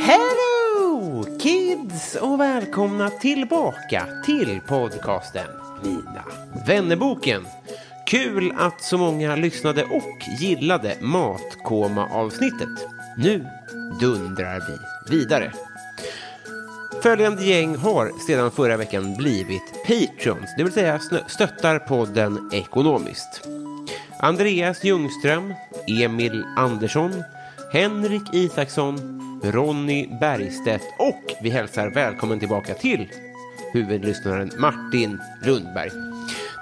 Hello kids och välkomna tillbaka till podcasten Mina vännerboken. Kul att så många lyssnade och gillade matkoma-avsnittet. Nu dundrar vi vidare. Följande gäng har sedan förra veckan blivit patrons, det vill säga snö- stöttar podden ekonomiskt. Andreas Ljungström, Emil Andersson, Henrik Isaksson, Ronny Bergstedt och vi hälsar välkommen tillbaka till huvudlyssnaren Martin Lundberg.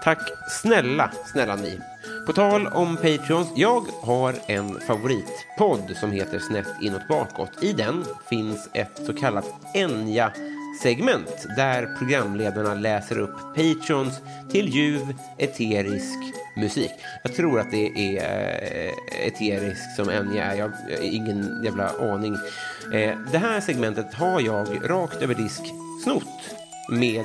Tack snälla, snälla ni. På tal om Patreons, jag har en favoritpodd som heter Snett inåt bakåt. I den finns ett så kallat Enja-segment där programledarna läser upp Patreons till ljuv eterisk musik. Jag tror att det är eh, eterisk som Enja är. Jag har ingen jävla aning. Eh, Det här segmentet har jag rakt över disk snott med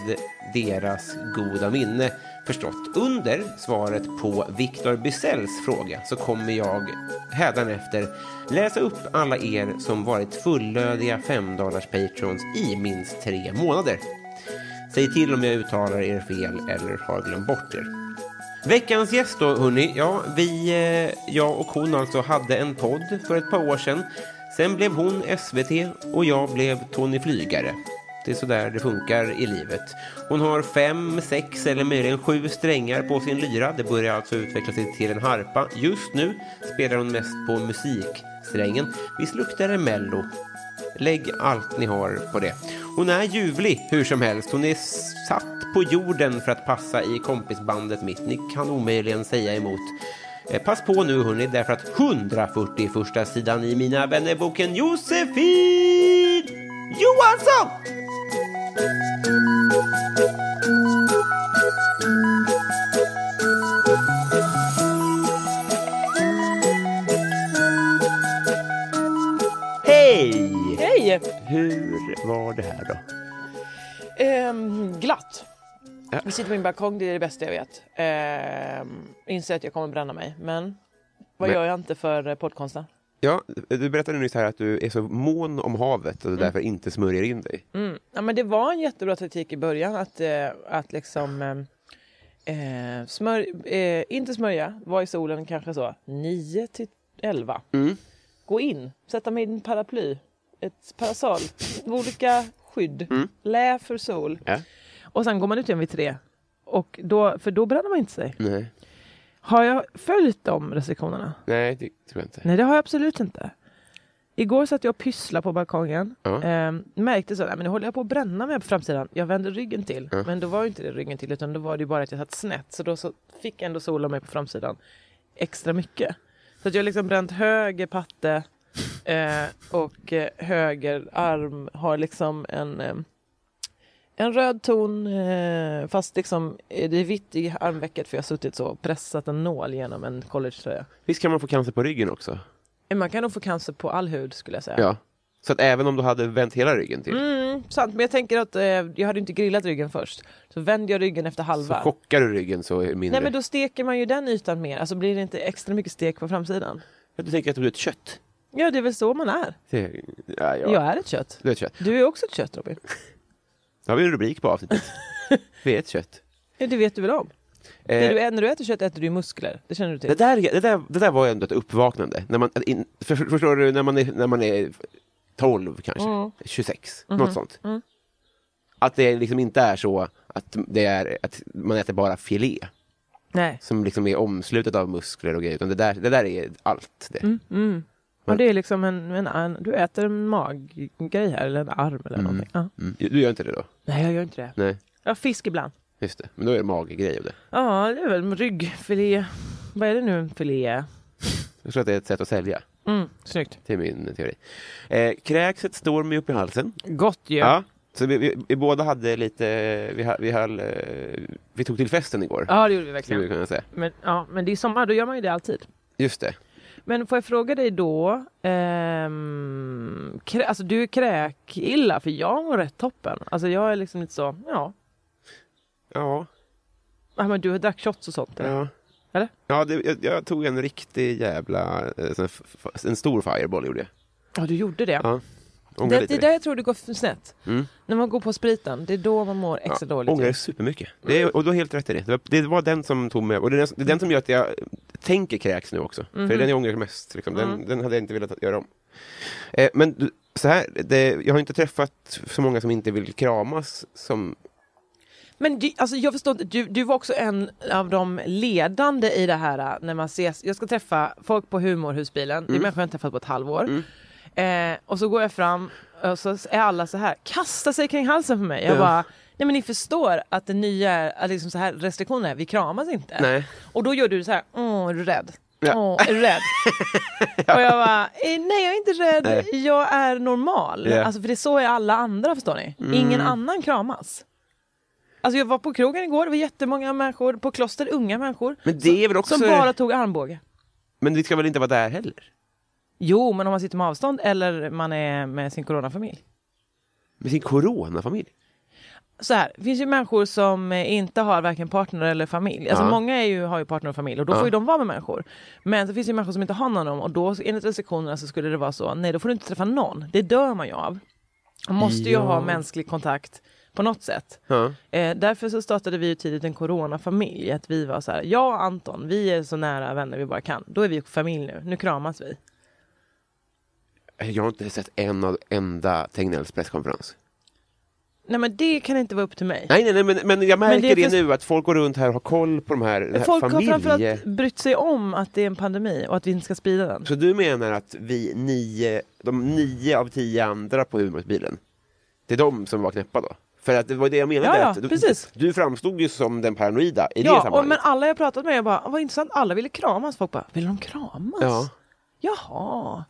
deras goda minne förstått. Under svaret på Viktor Bysells fråga så kommer jag hädanefter läsa upp alla er som varit fullödiga 5 patrons i minst tre månader. Säg till om jag uttalar er fel eller har glömt bort er. Veckans gäst då, hörni. Ja, vi, eh, jag och hon alltså hade en podd för ett par år sedan. Sen blev hon SVT och jag blev Tony Flygare. Det är sådär det funkar i livet. Hon har fem, sex eller möjligen sju strängar på sin lyra. Det börjar alltså utveckla sig till en harpa. Just nu spelar hon mest på musiksträngen. Visst luktar det mello? Lägg allt ni har på det. Hon är ljuvlig hur som helst. Hon är satt på jorden för att passa i kompisbandet mitt. Ni kan omöjligen säga emot. Eh, Pass på nu hörni, därför att 140 första sidan i Mina vännerboken Josefin Johansson! Hej! Hej! Hur var det här då? Ehm, glatt. Ja. Jag sitter på min balkong, det är det bästa jag vet. Ehm, inser att jag kommer bränna mig, men vad Men- gör jag inte för eh, poddkonsten? Ja, du berättade nyss här att du är så mån om havet och du därför inte smörjer in dig. Mm. Ja, men det var en jättebra taktik i början att, eh, att liksom eh, eh, smör, eh, inte smörja, vara i solen kanske så 9 till 11. Gå in, sätta mig i en paraply, ett parasoll, olika skydd, lä för sol. Ja. Och sen går man ut igen vid tre. Och då, för då bränner man inte sig. Nej. Har jag följt de restriktionerna? Nej, det tror jag inte. Nej, det har jag absolut inte. Igår satt jag och pysslade på balkongen. Ja. Ehm, märkte så att nu håller jag på att bränna mig på framsidan. Jag vände ryggen till. Men då var ju inte det ryggen till utan då var det ju bara att jag satt snett. Så då så fick jag ändå sola mig på framsidan extra mycket. Så att jag har liksom bränt höger patte eh, och eh, höger arm har liksom en eh, en röd ton eh, fast liksom eh, det är vitt i armvecket för jag har suttit så och pressat en nål genom en collegetröja. Visst kan man få cancer på ryggen också? Man kan nog få cancer på all hud skulle jag säga. Ja. Så att även om du hade vänt hela ryggen till Mm, sant, men jag tänker att eh, jag hade inte grillat ryggen först. Så vänder jag ryggen efter så halva. chockar du ryggen så är det mindre. Nej men då steker man ju den ytan mer, alltså blir det inte extra mycket stek på framsidan? Du tänker att du är ett kött? Ja det är väl så man är. Det- Ja, ja. Jag är ett kött. Du är ett kött. Du är också ett kött Robin. Då har vi en rubrik på avsnittet. vi är ett kött. Ja, det vet du väl om? Eh, Det du, ä- när du äter kött äter du ju muskler, det känner du till. det, där, det, där, det där var ju ändå ett uppvaknande. När man, in, för, förstår Mm. Mhm. du, när man är, när man är 12 kanske, 26, något sånt. Att det liksom inte är så att, det är, att man äter bara filé Nej. som liksom är omslutet av muskler och grejer. Utan det där, det där är allt. Det. Mm. Och det är liksom en, en, en du äter en maggrej här eller en arm eller någonting. Ja. Mm. Du gör inte det då? Nej, jag gör inte det. Nej, Ja, fisk ibland. just det. Men då är det maggrej av det. Ja, det är väl ryggfilé. Vad är det nu en filé är? Jag tror att det är ett sätt att sälja. Mm, snyggt. Det är min teori. Eh, kräkset står mig upp i halsen. Gott ju. Ja. Så vi, vi, vi båda hade lite, vi, ha- vi, höll, eh, vi tog till festen igår. Ja, det gjorde vi Skulle vi verkligen. kunna säga. Men, ja, men det är sommar, då gör man ju det alltid. Just det. Men får jag fråga dig då, ehm, krä, alltså du är kräkilla för jag mår rätt toppen. Alltså jag är liksom lite så, ja, Ja. ja, men du drack shots och sånt eller? ja. Eller? Ja, det, jag, jag tog en riktig jävla, eh, sån här f- f- en stor fireball gjorde jag. Ja, du gjorde det. Ja, Ångrar det, lite. det är där jag tror det går f- snett. Mm. När man går på spriten, det är då man mår extra dåligt. Ångrar supermycket. Det är, och du har helt rätt i det. Det var, det var den som tog mig, och det är, den, det är den som gör att jag tänker kräks nu också. För det Mhm. är den jag ångrar mest. Liksom. Den, den hade jag inte velat göra om. Eh, men du- så här, det, jag har inte träffat så många som inte vill kramas som... Men du, alltså jag förstår inte, du, du var också en av de ledande i det här äh, när man ses. Jag ska träffa folk på humorhusbilen, Mm. det är människor jag inte träffat på ett halvår. Eh, och så går jag fram och så är alla så här, kastar sig kring halsen på mig. Jag bara, nej men ni förstår att det nya är, att liksom så här restriktioner är, vi kramas inte. Nej. Och då gör du så här, åh är du rädd? Ja. Åh, är du rädd? Och jag bara, eh, nej jag är inte rädd, Nej. jag är normal. Ja. Mm. Alltså för det är så är alla andra förstår ni. Ingen annan kramas. Alltså jag var på krogen igår, det var jättemånga människor, på kloster, unga människor. Men det är väl också... Som bara tog armbåge. Men vi ska väl inte vara där heller? Jo, men om man sitter med avstånd eller man är med sin coronafamilj. Med sin coronafamilj? Så här, det finns ju människor som eh, inte har varken partner eller familj. Alltså Ja. många är ju, har ju partner och familj och då får ju de vara med människor. Men så finns det ju människor som inte har någon av dem och då enligt restriktionerna så skulle det vara så, nej då får du inte träffa någon. Det dör man ju av. Man måste ju Ja. ha mänsklig kontakt på något sätt. Ja. Eh, därför så startade vi ju tidigt en coronafamilj. Att vi var så här, jag och Anton, vi är så nära vänner vi bara kan. Då är vi familj nu, nu kramas vi. Eh, Jag har inte sett en av enda Tegnells presskonferens. Nej men det kan inte vara upp till mig. Nej, nej, nej men, men jag märker det är det, för- nu att folk går runt här och har koll på de här, den här Folk familje... har framförallt brytt sig om att det är en pandemi och att vi inte ska sprida den. Så du menar att vi nio, de nio av tio andra på humorbilen, det är de som var knäppa då? För att det var det jag menade. Ja, ja, att du, precis. du framstod ju som den paranoida i det Ja, och, sammanhanget. men alla jag pratat med, jag bara, "Ah, vad intressant, alla ville kramas. Folk bara, vill de kramas? Ja. Jaha.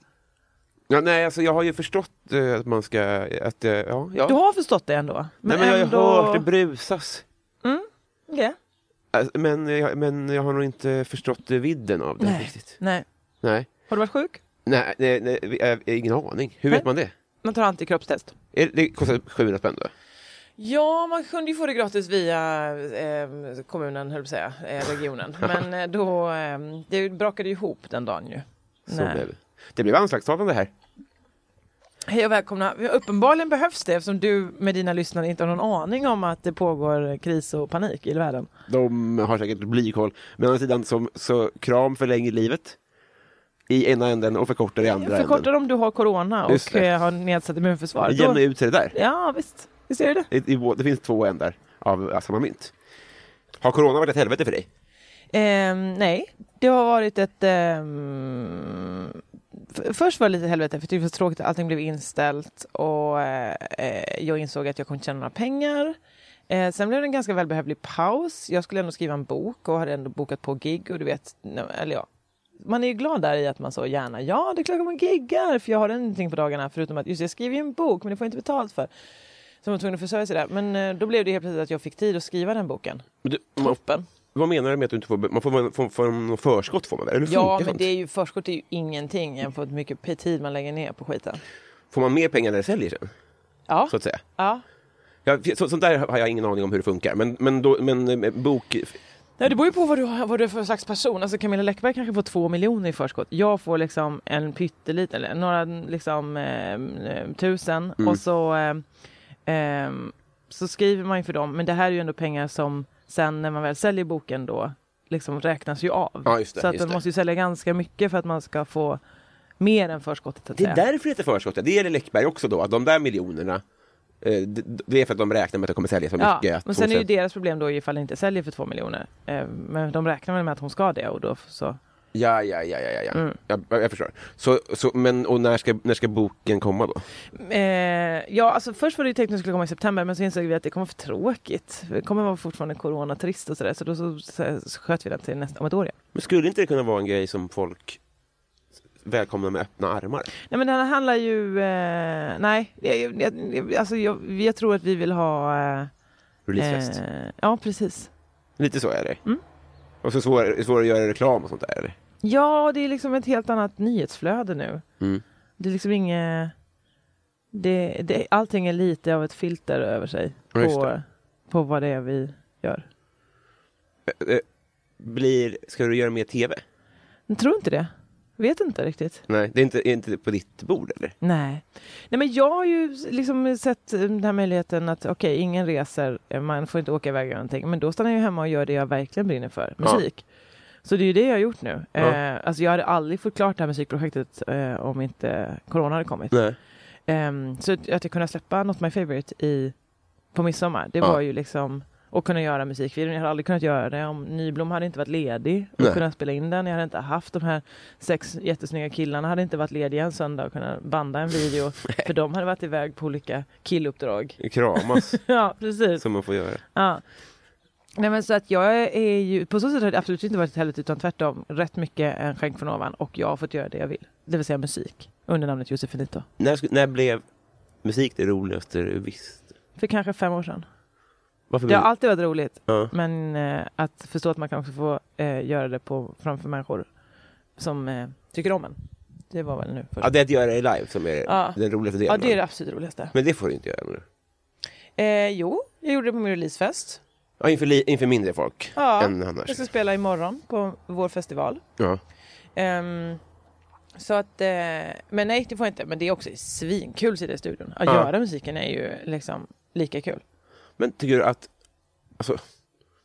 ja, nej, alltså, jag har ju förstått eh, att man ska... Att, eh, ja, ja. Du har förstått det ändå? nej, men ändå... Jag har ju hört det brusas. Okej. Alltså, Men jag, men jag har nog inte förstått eh, vidden av det Nej. riktigt. Nej. Nej. Har du varit sjuk? Nej, nej, nej, vi- jag har ingen aning. Hur Nej. vet man det? Man tar antikroppstest. Är- Det kostar 700 spänn då? Ja, man kunde ju få det gratis via eh, kommunen, höll jag på att säga, eh, regionen. Men eh, då, eh, det brakade ju ihop den dagen ju. Så Nej. blev det. det blev anslagstavlan det här. Hej och välkomna. Uppenbarligen behövs det eftersom du med dina lyssnare inte har någon aning om att det pågår kris och panik i världen. De har säkert blykoll. Men å andra sidan, som, så kram förlänger livet i ena änden och förkortar i andra Förkortar änden. om du har corona Just och det. eh, har nedsatt immunförsvar. Det Då- jämnar ut sig det där. Ja, visst. Visst är det det. I, i, bå- det finns två ändar av ja, samma mynt. Har corona varit ett helvete för dig? Ehm, nej, det har varit ett... ehm, f- Först var det lite helvete, för jag tyckte det var så tråkigt att allting blev inställt och eh, eh, jag insåg att jag kommer inte tjäna några pengar. Eh, sen blev det en ganska välbehövlig paus. Jag skulle ändå skriva en bok och hade ändå bokat på gig och du vet, n- eller ja. Man är ju glad där i att man så gärna, ja det är klart att man giggar för jag har ingenting på dagarna förutom att just jag skriver ju en bok men det får jag inte betalt för. Så man var tvungen att försörja sig där. Men eh, då blev det helt plötsligt att jag fick tid att skriva den boken. Du, man, Toppen. vad menar du med att du inte får... be- Man får, man får, får något förskott får man väl? Eller hur Ja, funkar men sånt? det är ju, förskott är ju ingenting jämfört med hur mycket p- tid man lägger ner på skiten. Får man mer pengar när det säljer sen? Ja, Så att säga. ja. Ja, så, sånt där har jag ingen aning om hur det funkar. Men, men, då, men eh, bok... Nej, det beror ju på vad du, har- vad du är för slags person. Alltså Camilla Läckberg kanske får två miljoner i förskott. Jag får liksom en pytteliten, eller några liksom eh, tusen. Mm. Och så, eh, eh, så skriver man ju för dem. Men det här är ju ändå pengar som sen när man väl säljer boken då liksom räknas ju av. Ja, just det, så att just man det. måste ju sälja ganska mycket för att man ska få mer än förskottet. så Att Det säga. är därför det heter förskott. ja. Det gäller Läckberg också då. Att de där miljonerna Eh, d- d- Det är för att de räknar med att det kommer säljas så Ja, mycket. att men hon sen är ju säger- deras problem då ifall det inte säljer för två miljoner. Eh, Men de räknar väl med att hon ska det och då f- så. Ja, ja, ja, ja, ja. ja. Mm. Jag, jag förstår. Så, så, men, och när ska, när ska boken komma då? Eh, ja, alltså först var det ju tänkt att den skulle komma i september men så insåg vi att det kommer vara för tråkigt. Det kommer vara fortfarande coronatrist och sådär så då så, så, så sköt vi den till nästa, om ett år igen. Men skulle inte det kunna vara en grej som folk välkomnar med öppna armar? Nej men den handlar ju, eh, nej, jag, jag, jag, alltså jag, jag tror att vi vill ha... Eh, Releasefest? eh, Mm. ja, precis. Lite så är det. Och så svårare svår att göra reklam och sånt där? Eller? Ja, det är liksom ett helt annat nyhetsflöde nu. Mm. Det är liksom inget... Det, det, allting är lite av ett filter över sig Ja, just på, det. på vad det är vi gör. Eh, eh, Blir, ska du göra mer tv? Jag tror inte det. Vet inte riktigt. Nej, det är inte, är inte på ditt bord eller? Nej. Nej men jag har ju liksom sett eh, den här möjligheten att okej, ingen reser, eh, man får inte åka iväg och göra någonting. Men då stannar jag ju hemma och gör det jag verkligen brinner för, Ja. musik. Så det är ju det jag har gjort nu. Ja. Eh, alltså jag hade aldrig fått klart det här musikprojektet eh, om inte corona hade kommit. Nej. Ehm, så att att jag kunde släppa Not My Favorite i, på midsommar, det Ja. var ju liksom och kunna göra musikvideon. Jag hade aldrig kunnat göra det om Nyblom hade inte varit ledig och Nej. kunnat spela in den. Jag hade inte haft de här sex jättesnygga killarna hade inte varit lediga en söndag och kunnat banda en video. för de hade varit iväg på olika killuppdrag. Kramas Ja, precis. som man får göra. Ja. Nej men så att jag är ju, på så sätt har det absolut inte varit ett helvete utan tvärtom rätt mycket en skänk från ovan och jag har fått göra det jag vill. Det vill säga musik under namnet Josefinito. När, sk- när blev musik det roligaste du visste? För kanske fem år sedan. Varför Det blev har alltid varit roligt. Ja. Men eh, att förstå att man kan också få eh, göra det på, framför människor som eh, tycker om en. Det var väl nu först. Ja, det är att göra det live som är Ja. den roligaste delen. Ja, det är av det absolut roligaste. Men det får du inte göra nu. Eh, jo, jag gjorde det på min releasefest. Ja, inför, li- inför mindre folk Ja, än annars. Jag ska spela imorgon på vår festival. Ja. Ehm, så att, eh, men nej det får jag inte. Men det är också svinkul sitta i studion. Att Ja. göra musiken är ju liksom lika kul. Men tycker du att... Alltså,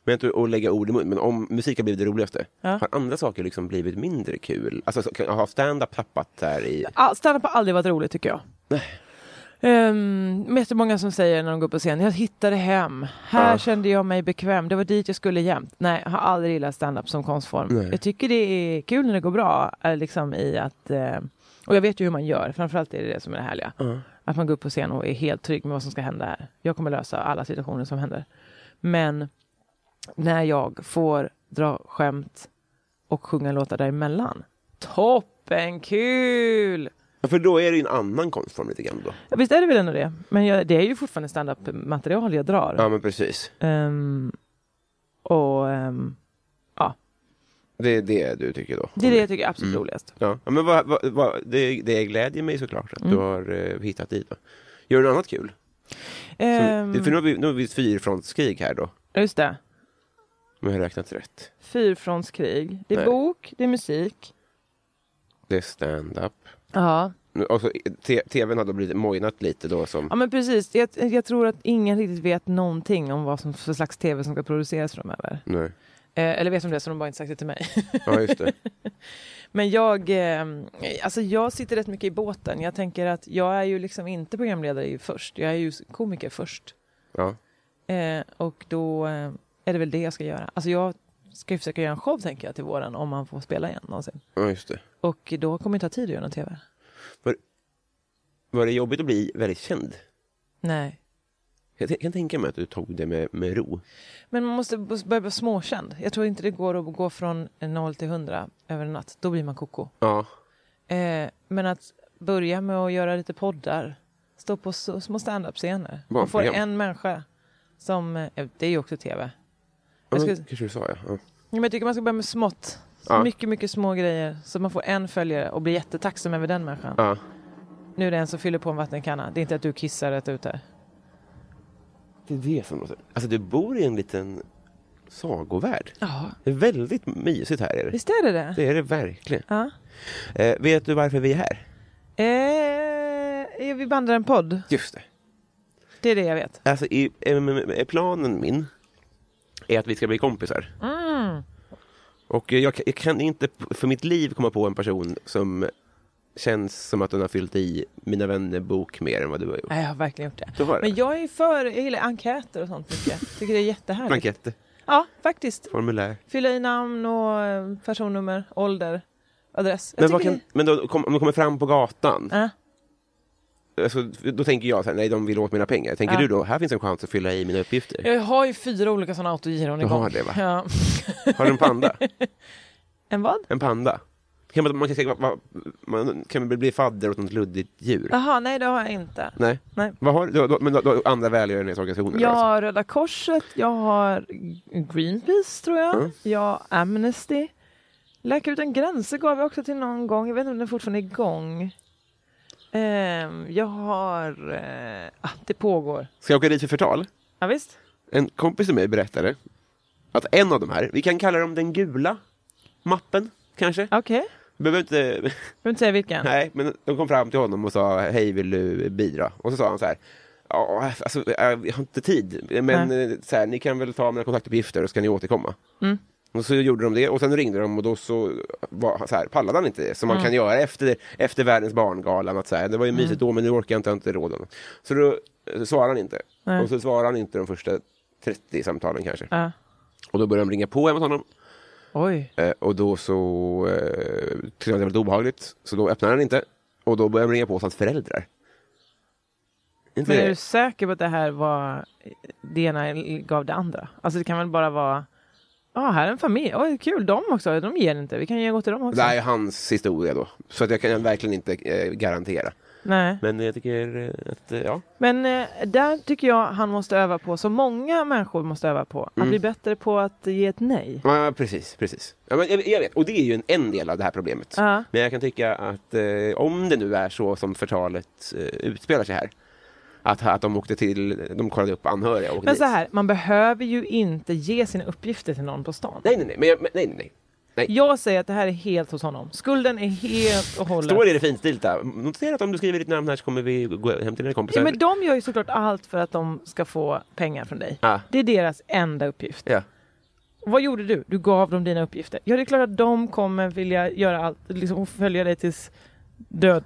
men inte att lägga ord i mun, men om musik har blivit det roligaste, Ja. har andra saker liksom blivit mindre kul? Alltså, så- har stand-up tappat där i... Ah, Stand-up har aldrig varit roligt tycker jag. Um, jättemånga som säger när de går på scen, jag hittade hem, här Ah. kände jag mig bekväm, det var dit jag skulle jämt. Nej, jag har aldrig gillat stand-up som konstform. Nej. Jag tycker det är kul när det går bra, eh, liksom i att, eh, och jag vet ju hur man gör, framförallt är det det som är det härliga. Att man går upp på scen och är helt trygg med vad som ska hända här. Jag kommer lösa alla situationer som händer. Men när jag får dra skämt och sjunga låtar däremellan, toppen kul! Ja, För då är det ju en annan konstform lite grann då. Ja, Visst är det väl ändå det? Men jag, det är ju fortfarande stand-up material jag drar. Ja, men precis. Ehm, och ehm, Det är det du tycker då? det är det jag tycker är Mm. absolut roligast. Ja, ja, men vad, vad, vad, det, det glädjer mig såklart Mm. att du har eh, hittat dit. Då. Gör du något annat kul? Som, Ehm, det- För nu har vi, nu har vi ett fyrfrontskrig här då, Just det. om jag har räknat rätt. Fyrfrontskrig. Det är Nej. bok, det är musik. Det är stand-up. Ja, Nu- Och så, te, tvn har då blivit mojnat lite då som... ja men precis. Jag, jag tror att ingen riktigt vet någonting om vad som för slags tv som ska produceras framöver. Nej. Eh, eller vet om det, så de bara inte sagt det till mig. Ja, just det. Men jag, eh, alltså jag sitter rätt mycket i båten. Jag tänker att jag är ju liksom inte programledare i först. Jag är ju komiker först. Ja. Eh, och då eh, är det väl det jag ska göra. Alltså jag ska ju försöka göra en show tänker jag till våren om man får spela igen någonsin. ja, just det. Och då kommer jag inte ha tid att göra någon tv. Var det jobbigt att bli väldigt känd? Nej. Jag t- kan tänka mig att du tog det med, med ro. Men man måste b- börja bli småkänd. Jag tror inte det går att gå från noll till hundra över en natt. Då blir man koko. Ja. Eh, men att börja med att göra lite poddar. Stå på så, små standup-scener. Man får Barnprogram. en människa som... eh, Det är ju också tv. ja Jag men, skulle- Kanske du sa, ja. ja. Ja, Men jag tycker man ska börja med smått. Ja. Mycket, mycket små grejer. Så man får en följare och blir jättetacksam över den människan. ja. Nu är det en som fyller på en vattenkanna. Det är inte att du kissar rätt ut här. Det är det som låter... Alltså, du bor i en liten sagovärld. Ja. Det är väldigt mysigt här. Är det. Visst är det det? det är det verkligen. Ja. Eh, vet du varför vi är här? Eh, vi bandar en podd. Just det. Det är det jag vet. Alltså, i, em- em- em- planen min är att vi ska bli kompisar. Mm. Och eh, jag, kan- jag kan inte p- för mitt liv komma på en person som känns som att hon har fyllt i Mina vänner-bok mer än vad du har gjort. Nej, jag har verkligen gjort det. Så var det. Men jag är för, jag gillar enkäter och sånt mycket. Tycker det är jättehärligt. Blanketter, Ja, faktiskt. formulär. Fylla i namn och eh, personnummer, ålder, adress. Jag Men, vad tycker kan, men då, kom, om de kommer fram på gatan, det- Ja. alltså, då tänker jag så här, nej de vill åt mina pengar. Tänker Ja. du då, här finns en chans att fylla i mina uppgifter? Jag har ju fyra olika sådana autogiron Du igång. har det, va? Ja. Har du en panda? En vad? En panda? Kan man, man, kan, säga, vad- vad- man kan väl bli fadder åt något luddigt djur? Jaha, nej det har jag inte. Nej. Nej. Vad har du? du? har- Men du har andra välgörenhetsorganisationer? Jag alltså. har Röda Korset, jag har Greenpeace tror jag, Mm. jag har Amnesty. Läkare Utan Gränser gav jag också till någon gång, jag vet inte om den fortfarande är igång. Ehm, jag har... Eh, ah, det pågår. Ska jag åka dit för förtal? Ja, visst. En kompis till mig berättade att en av de här, vi kan kalla dem den gula mappen kanske? Okej. Okay. Behöver inte, Behöver inte säga vilken. nej, men de kom fram till honom och sa hej vill du bidra? Och så sa han så här Ja, alltså, jag har inte tid, men eh, så här, ni kan väl ta mina kontaktuppgifter och så kan ni återkomma. Och så gjorde de det och sen ringde de och då så, var, så här, pallade han inte det som man kan göra efter, efter världens barngalan. Att så här, det var ju mysigt då men nu orkar jag inte, jag har inte råd. om det." Så då eh, svarade han inte. Och så svarade han inte de första 30 samtalen kanske. Ja. Och då började de ringa på hemma hos honom Ah. Oj. Eh, och då så eh, tyckte han det var lite obehagligt, så då öppnade han inte. Och då började han ringa på hos hans föräldrar. Inte Men är det? du säker på att det här var... Det ena gav det andra? Alltså det kan väl bara vara... Ja, ah, här är en familj. Oj, kul. De också. De ger inte. Vi kan ju gå till dem Det också. här är hans historia då, så att jag kan verkligen inte eh, garantera. Nej. Men jag tycker eh, att, eh, ja. Men eh, där tycker jag han måste öva på, så många människor måste öva på, Mm. att bli bättre på att ge ett nej. Ja, precis, precis. Ja, men jag, jag vet, och det är ju en, en del av det här problemet. Ja. Men jag kan tycka att eh, om det nu är så som förtalet eh, utspelar sig här, att, att de åkte till, de kollade upp anhöriga och åkte Men dit. så här, man behöver ju inte ge sina uppgifter till någon på stan. Nej, nej, nej, men, jag- men, nej, nej, nej. Jag säger att det här är helt hos honom. Skulden är helt och hållet... Står det i det finstilta? Notera att om du skriver ditt namn här så kommer vi gå hem till dina kompisar. ja, men de gör ju såklart allt för att de ska få pengar från dig. Ja. Det är deras enda uppgift. Ja. Vad gjorde du? Du gav dem dina uppgifter. Ja, det är klart att de kommer vilja göra allt, liksom följa dig tills död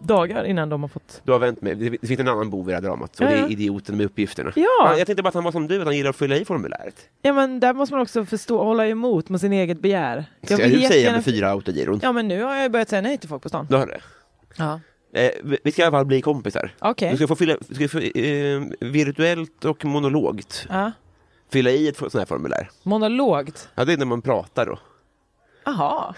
dagar innan de har fått... Du har vänt mig. Det det finns en annan bov i det här dramat och det Ja, ja. är idioten med uppgifterna. Ja. Jag tänkte bara att han var som du, att han gillar att fylla i formuläret. Ja men där måste man också förstå, hålla emot med sin eget begär. Ska vill du säga jättegärna- med fyra autogiron? Ja men nu har jag börjat säga nej till folk på stan. Du har det. Ja. Eh, vi- vi ska i alla fall bli kompisar. Okej. Du ska få fylla, du ska få, eh, virtuellt och monologt Ja. fylla i ett sånt här formulär. Monologt. Ja, det är när man pratar då. Jaha.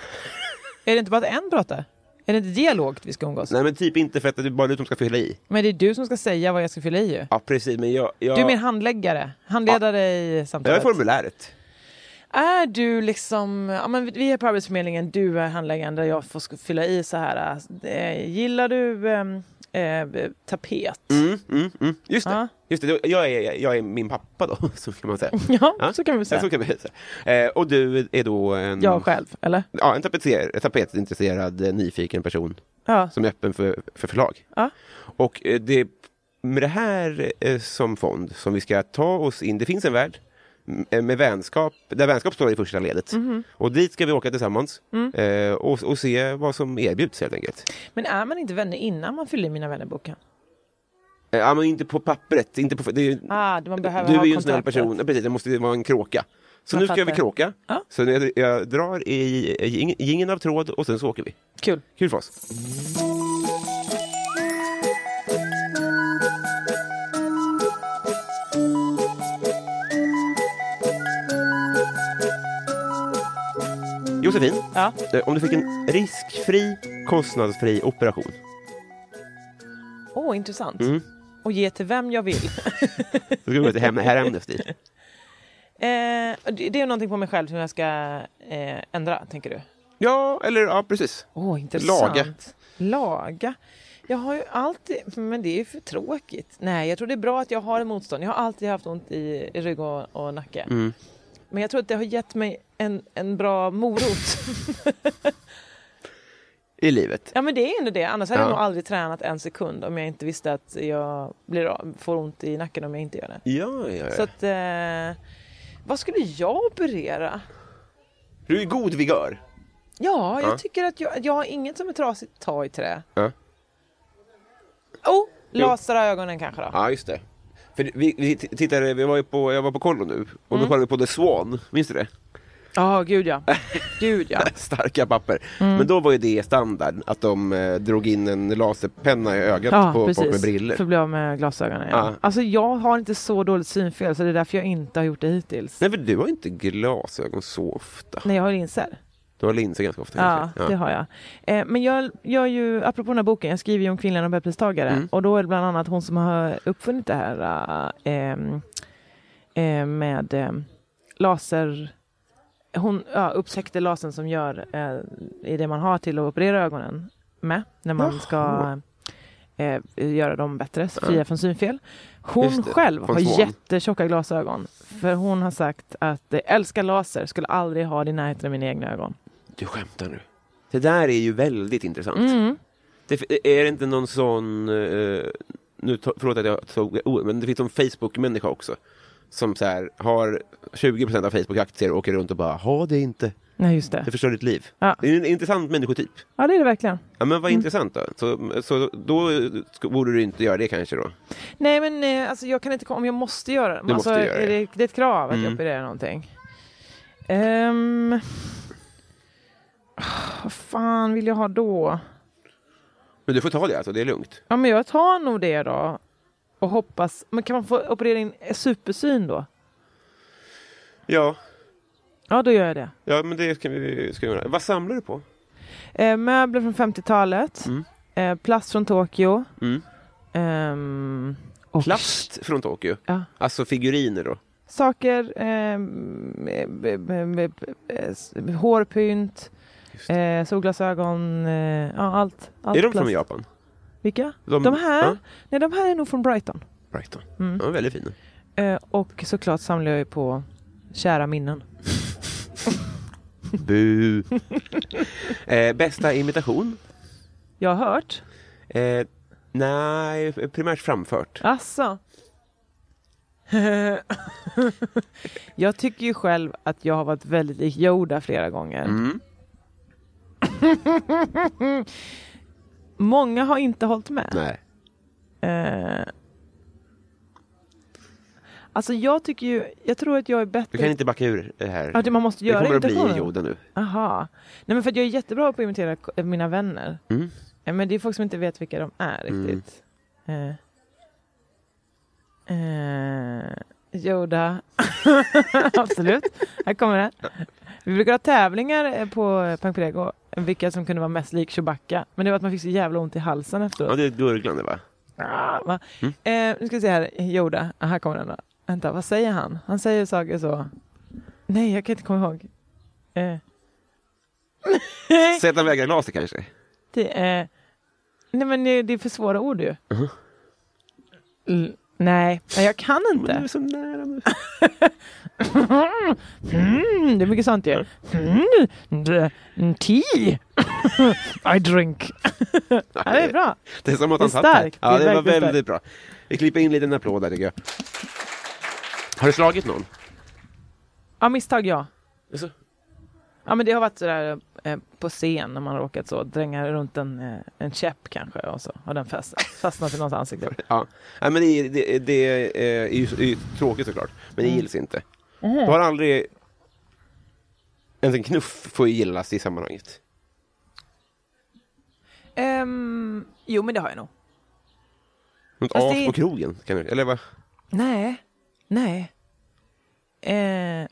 är det inte bara att en pratar? Är det inte dialogt vi ska umgås? Nej, men typ inte för att det är bara du som ska fylla i. Men det är du som ska säga vad jag ska fylla i ju. Ja, precis. Men jag... jag Du är min handläggare, handledare i jag är samtalet. formuläret. Är du liksom, ja, men vi är på Arbetsförmedlingen, du är handläggaren där jag får sk- fylla i så här. Eh, gillar du ehm, eh, tapet? Mm, mm, mm. Just det. Ja. Just det. Jag, är, jag är min pappa då, så kan man säga. Ja, så kan vi Ja, säga. så kan vi säga. Eh, och du är då en, Jag själv, eller? ja, en tapetser, tapetintresserad, eh, nyfiken person Ja. som är öppen för, för förlag. Ja. Och eh, det, med det här eh, som fond som vi ska ta oss in, det finns en värld m- eh, med vänskap, där vänskap står i första ledet. Mhm. Och dit ska vi åka tillsammans Mm. eh, och, och se vad som erbjuds helt enkelt. Men är man inte vänner innan man fyller i Mina vännerboken? Eh, Ja, men inte på pappret, inte på, det är ju, Ah, man behöver du ha är ju en snäll kontakter. person. Ja, precis, det måste vara en kråka. Så Jag nu ska vi fattar. kråka. Ja. Så jag, jag drar i i ingen av tråd och sen så åker vi. Kul. Kul för oss. Josefin, Ja. eh, om du fick en riskfri, kostnadsfri operation. Åh, intressant. Mm. Och ge till vem jag vill. Då skulle du gå till Hem- Herr Amnesty. Eh, det det är någonting på mig själv som jag ska eh, ändra, tänker du? Ja, eller ja, precis. Åh, intressant. Laga. Laga. Jag har ju alltid... Men det är ju för tråkigt. Nej, jag tror det är bra att jag har en motstånd. Jag har alltid haft ont i, i rygg och, och nacke. Mm. Men jag tror att det har gett mig en, en bra morot. I livet. Ja men det är ändå det, annars hade jag Ja. nog aldrig tränat en sekund om jag inte visste att jag blir, av- får ont i nacken om jag inte gör det. Ja, ja, Så att, eh, vad skulle jag operera? Du är i god vigör. Ja, jag Ja. tycker att jag, jag har inget som är trasigt. Ta i trä. Ja. Oh, lasra ögonen kanske då. Ja, just det. För vi, vi t- tittade, vi var ju på, jag var på kollo nu och Mm. då kollade vi på The Swan, minns du det? Ja, gud ja. Gud ja. Mm. Starka papper. Men då var ju det standard, att de eh, drog in en laserpenna i ögat Ja, på folk med precis. briller. För att bli av med glasögonen. Ja. Ja. Alltså jag har inte så dåligt synfel så det är därför jag inte har gjort det hittills. Nej, för du har inte glasögon så ofta. Nej, jag har linser. Du har linser ganska ofta. Ja, kanske. det har jag. Eh, men jag gör ju, apropå den här boken, jag skriver ju om kvinnliga nobelpristagare Mm. och då är det bland annat hon som har uppfunnit det här eh, ehm, eh, med eh, laser... Hon ja, upptäckte lasern som gör eh, i det man har till att operera ögonen med när man ska eh, göra dem bättre, fria från synfel. Hon Just det, själv från har Swan. jättetjocka glasögon för hon har sagt att eh, älskar laser, skulle aldrig ha det i närheten av mina egna ögon. Du skämtar nu. Det där är ju väldigt intressant. Mm. Det, är det inte någon sån, eh, nu to, förlåt att jag tog oh, men det finns en Facebook-människa också. Som så här, har 20% av Facebook-aktier och åker runt och bara, ha det inte, Nej, just det. det förstör ditt liv. Ja. Mm. Det är en intressant människotyp. Ja, det är det verkligen. Ja men vad intressant då. Så, så då sk- borde du inte göra det kanske då. Nej, men eh, alltså, jag kan inte komma om jag måste göra det. Du Alltså, måste göra är det. det. Det är ett krav att Mm. jag opererar någonting. Ehm. Ah, Vad fan vill jag ha då? Men du får ta det alltså, det är lugnt. Ja, men jag tar nog det då. Och hoppas. Men kan man få operera in supersyn då? Ja, Ja, då gör jag det. ja men det ska vi, ska vi göra. Vad samlar du på? Eh, möbler från 50-talet. Mm. Eh, plast från Tokyo. Mm. Ehm, och Plast från Tokyo? Ja. Alltså figuriner då? saker, ehm, eh, b- b- b- b- eh, s- hårpynt, Just det. eh, solglasögon, eh, ja allt. allt är de plast. från Japan? Vilka? De här? Ja, Nej, de här är nog från Brighton. Brighton. Mm. De är väldigt fina. Eh, och såklart samlar jag ju på kära minnen. Bu! eh, bästa imitation? Jag har hört. Eh, nej, primärt framfört. Asså. jag tycker ju själv att jag har varit väldigt lik Yoda flera gånger. Mm. Många har inte hållit med. Nej. Eh, alltså jag tycker ju, jag tror att jag är bättre... Du kan inte backa ur det här. Ja, det- man måste det göra kommer att bli imitationen. Yoda nu. Aha. Nej men för att jag är jättebra på att imitera k- mina vänner. Mm. Eh, Men det är folk som inte vet vilka de är riktigt. Eh. Eh, Yoda. Absolut. Här kommer den. Vi brukar ha tävlingar eh, på Pangprego. Vilka som kunde vara mest lik Chewbacca. Men det var att man fick så jävla ont i halsen efteråt. Ja, det är ett gurglande va? Ah, va? Eh, nu ska vi se här, Yoda. Ah, här kommer den då. Vänta, vad säger han? Han säger saker så. Nej, jag kan inte komma ihåg. Eh, Sätta vägar laser kanske? det, eh, nej, men det, det är för svåra ord ju. Uh-huh. L- nej, nej, jag kan Men du är inte. så nära nu. Mm, det är mycket sånt ju. Mm, d- mm, tea. I drink. ja, det är bra. Det är som att Det är han satt här. starkt. Ja, Det det, är var verkligen väldigt bra. Vi klipper in en liten applåd där tycker jag. Har du slagit någon? Ja, misstag ja. Jaså? Ja men det har varit sådär eh, på scen när man har råkat så dränga runt en, eh, en käpp kanske och så har den fastnat, fastnat i någons ansikte. Ja. Nej, men det, det, det är, ju, är ju tråkigt såklart, men det Mm. gills inte. Du har aldrig... Ens en knuff får ju gillas i sammanhanget. Ehm, jo men det har jag nog. Något Fast as det- på krogen, kan du, eller vad? Nej, nej. Eh,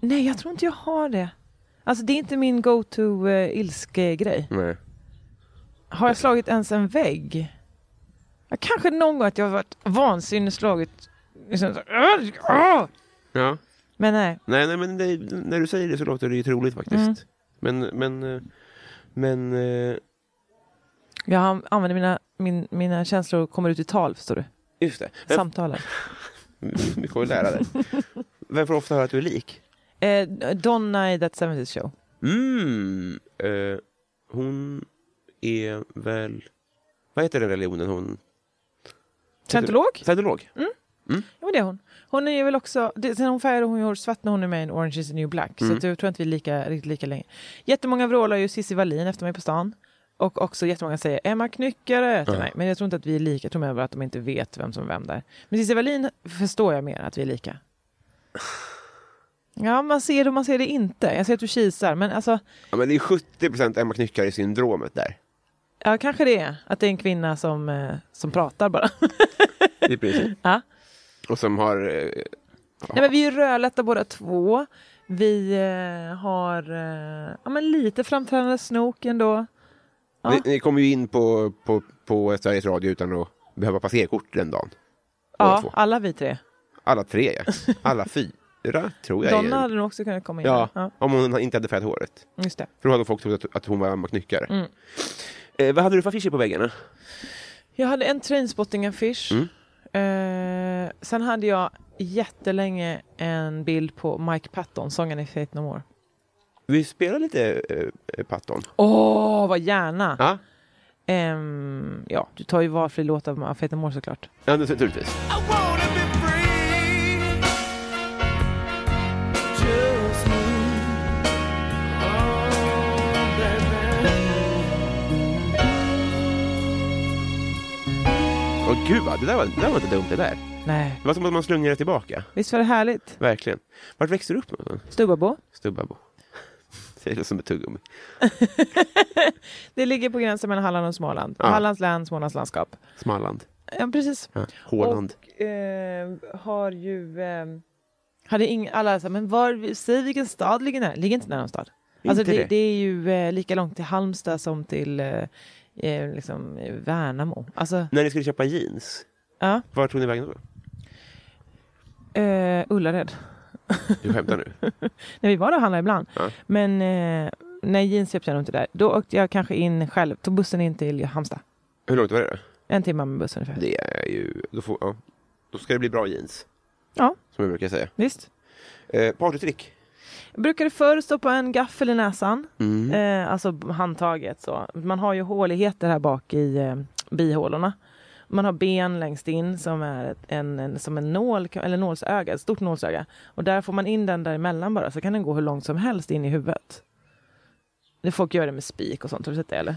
nej jag tror inte jag har det. Alltså det är inte min go-to eh, ilske-grej. Nej. Har jag slagit ens en vägg? Ja, kanske någon gång att jag har varit vansinnig slagit liksom, så, "Åh!" Ja. men nej. Nej, nej, men det, när du säger det så låter det ju troligt Mm. faktiskt. Men, men, eh, men... eh, Jag an- använder mina, min, mina känslor och kommer ut i tal, förstår du. Just det. Vem, Samtalen. vi kommer lära dig. Vem får ofta höra att du är lik? Eh, Donna i That 70 Show. Mm. Eh, hon är väl... Vad heter den religionen hon... Scientolog? Scientolog? Jag men det är hon. Hon är väl också, det, sen hon färgade hon ju hår svart när hon är med i en Orange is the new black. Så att jag tror inte vi är lika, riktigt lika länge. Jättemånga vrålar ju Cissi Wallin efter mig på stan. Och också jättemånga säger Emma Knyckare till mig. Men jag tror inte att vi är lika. Jag tror mer bara att de inte vet vem som är vem där. Men Cissi Wallin förstår jag mer att vi är lika. Ja, man ser det och man ser det inte. Jag ser att du kisar. Men alltså, Ja, men det är 70% Emma Knyckare-syndromet där. ja, kanske det är. Att det är en kvinna som, eh, som pratar bara. I princip. Ja. Och som har... eh, Nej, men vi är ju rödlätta båda två. Vi eh, har eh, ja, men lite framträdande snok ändå. Ja. Ni, ni kommer ju in på, på, på Sveriges Radio utan att behöva passerkort den dagen. Båda två. Ja, alla vi tre. Alla tre, ja. Alla fyra, tror jag. Donna är. hade nog också kunnat komma in. Ja, ja om hon inte hade färgat håret. just det. För då hade folk trott att, att hon var Emma Knyckare. Mm. Eh, vad hade du för affischer på väggarna? Jag hade en trainspotting-affisch. Mm. Eh, sen hade jag jättelänge en bild på Mike Patton, sångaren i Faith No More. Vi spelar lite eh, Patton. Åh, vad gärna! Ja, Ehm, ja, du tar ju valfri låt av av Faith No More såklart. ja naturligtvis. Åh gud, vad, det, där var, det där var inte dumt det där. Nej, Det var som att man slungade tillbaka. visst var det härligt? Verkligen. Vart växte du upp någonstans? Stubbabo. Stubbabo. Det låter som ett tuggummi. Det ligger på gränsen mellan Halland och Småland. Hallands län, Smålands landskap. Smalland. Ja, precis. Ja. Håland. Och eh, har ju... Eh, hade ing, alla sa, men var, säg vilken stad ligger nära. Ligger inte nära någon stad. Alltså Inte det, det. det. är ju eh, lika långt till Halmstad som till eh, eh, liksom, eh, Värnamo. Alltså, När ni skulle köpa jeans, ja. var tog ni vägen då? Eh, Ullared. Du skämtar nu? Nej, vi var där och handlade ibland. Men eh, nej, jeans köpte jag nog inte där. Då åkte jag kanske in själv. Tog bussen in till Halmstad. Hur långt var det då? En timme med bussen ungefär. Det är ju... Då, får, ja. då ska det bli bra jeans, Ja, som jag brukar säga. visst. Eh, partytrick. Jag brukade förr stoppa en gaffel i näsan, eh, alltså b- handtaget. Så. Man har ju håligheter här bak i eh, bihålorna. Man har ben längst in som är ett, en, en, som en nål, eller nålsöga, ett stort nålsöga. Och där får man in den däremellan bara, så kan den gå hur långt som helst in i huvudet. Det folk gör det med spik och sånt, har du sett det eller?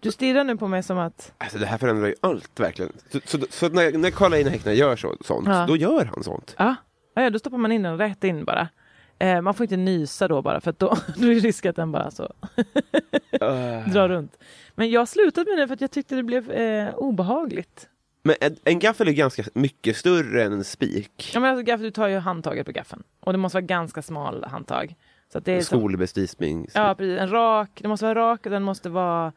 Du stirrar nu på mig som att, Alltså det här förändrar ju allt verkligen. Så, så, så när, när Carl Einar Häckner gör så, sånt, Ja. då gör han sånt. ja, ah, ja, då stoppar man in den rätt in bara. Eh, man får inte nysa då bara, för att då, då är det risk att den bara så dra runt. Men jag slutade med det för att jag tyckte det blev eh, obehagligt. Men en, en gaffel är ganska mycket större än en spik. Ja, men alltså, gaff, du tar ju handtaget på gaffeln och det måste vara ganska smal handtag. Så att det är som, Skolbespisning. ja, precis, en rak, den måste vara rak och den måste vara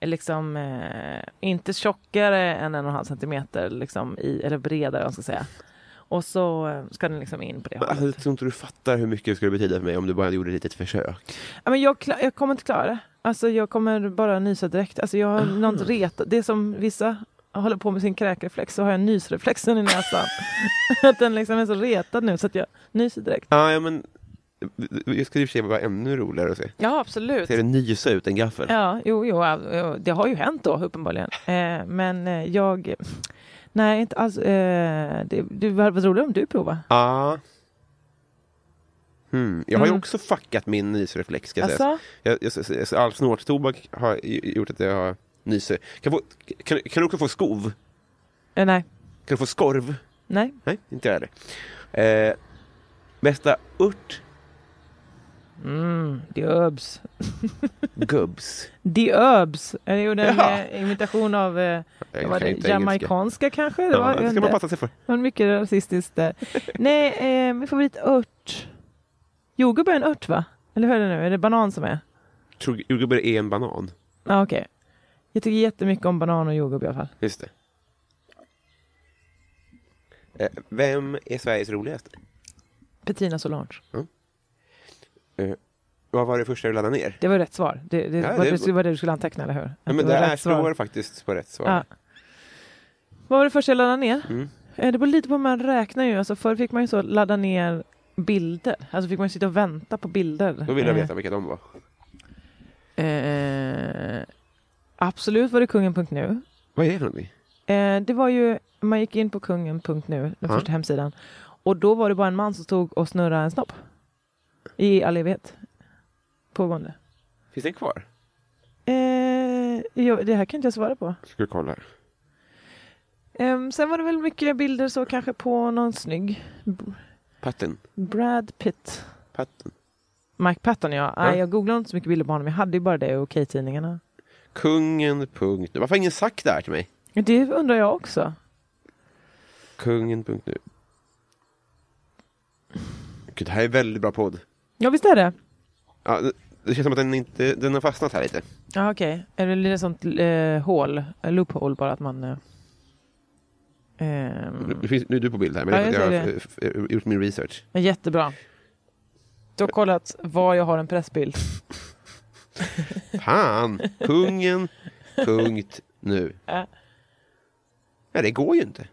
eh, liksom eh, inte tjockare än en och en halv centimeter liksom, i, eller bredare om man ska säga. Och så eh, ska den liksom in på det Men Alltså, hållet. jag tror inte du fattar hur mycket det skulle betyda för mig om du bara gjorde ett litet försök. Ja, men jag, kla- jag kommer inte klara det. Alltså, jag kommer bara nysa direkt. Alltså, jag har något reta. Det är som vissa håller på med sin kräkreflex så har jag nysreflexen i näsan. att den liksom är så retad nu så att jag nyser direkt. Ah, ja, men det skulle i och för sig vara ännu roligare att se. Ja, absolut. Ser det nysa ut en gaffel? Ja, jo, jo, ja, jo, det har ju hänt då uppenbarligen. Eh, men eh, jag... Nej, inte alls. Eh, det, det var vad roligt om du provar. Ah. Hmm. Jag har ju Mm. också fuckat min nysreflex. Ska jag säga. Alltså, Jag, jag, jag, all snortobak har ju- gjort att jag har nyser. Kan, få, kan, kan du också få skov? eh, nej, Kan du få skorv? nej. Nej, inte jag heller. Eh, bästa ört? Mm, det öbs. Gubbs. The Herbs. Jag gjorde en Jaha. eh, imitation av eh, Jag vad kan det, inte engelska. jamaicanska kanske? Det var, Ja, jag det vet ska man inte. passa sig för. Det var mycket rasistiskt där. Nej, eh, min favoritört. Jordgubbe är en ört va? Eller hur är det nu? Är det banan som är? Tror jordgubbar är en banan. Ja, okej. Jag tycker jättemycket om banan och jordgubbe i alla fall. Just det. Eh, vem är Sveriges roligaste? Petina Solange. Vad var det första du laddade ner? Det var rätt svar. Det, det, Ja, var, det- det, var det du skulle anteckna, eller hur? Att Ja, men var det rätt här svar. står faktiskt på rätt svar. Ja. Vad var det första jag laddade ner? Mm. Eh, Det beror lite på hur man räknar ju. Alltså, förr fick man ju så ladda ner bilder. Alltså fick man ju sitta och vänta på bilder. Då vill jag Eh, veta vilka de var. Eh, absolut var det kungen.nu. Vad är det för någonting? Eh, det var ju, man gick in på kungen.nu, den första hemsidan. Och då var det bara en man som stod och snurrade en snopp. I all evighet. Pågående. Finns den kvar? Eh, jag, det här kan inte jag svara på. Ska vi kolla. Ehm, sen var det väl mycket bilder så kanske på någon snygg. B- Patten. Brad Pitt. Patten. Mike Patton ja. Nej, jag googlade inte så mycket bilder på honom. Jag hade ju bara det och okej-tidningarna. Kungen. Punkt. Varför har ingen sagt det här till mig? Det undrar jag också. Kungen. Punkt nu. Gud, det här är väldigt bra podd. Ja visst är det. Ja, det, det känns som att den, inte, den har fastnat här lite. Ja okej. Är det lite sånt eh, hål? eh, Loophole bara att man... Eh, ehm, Nu finns- Nu är du på bild här, men Ja, det är för jag att jag ser har eh, det. f- f- gjort min research. men jättebra. Du har kollat var jag har en pressbild. Fan! Kungen, punkt, nu. Ja. Nej, det går ju inte.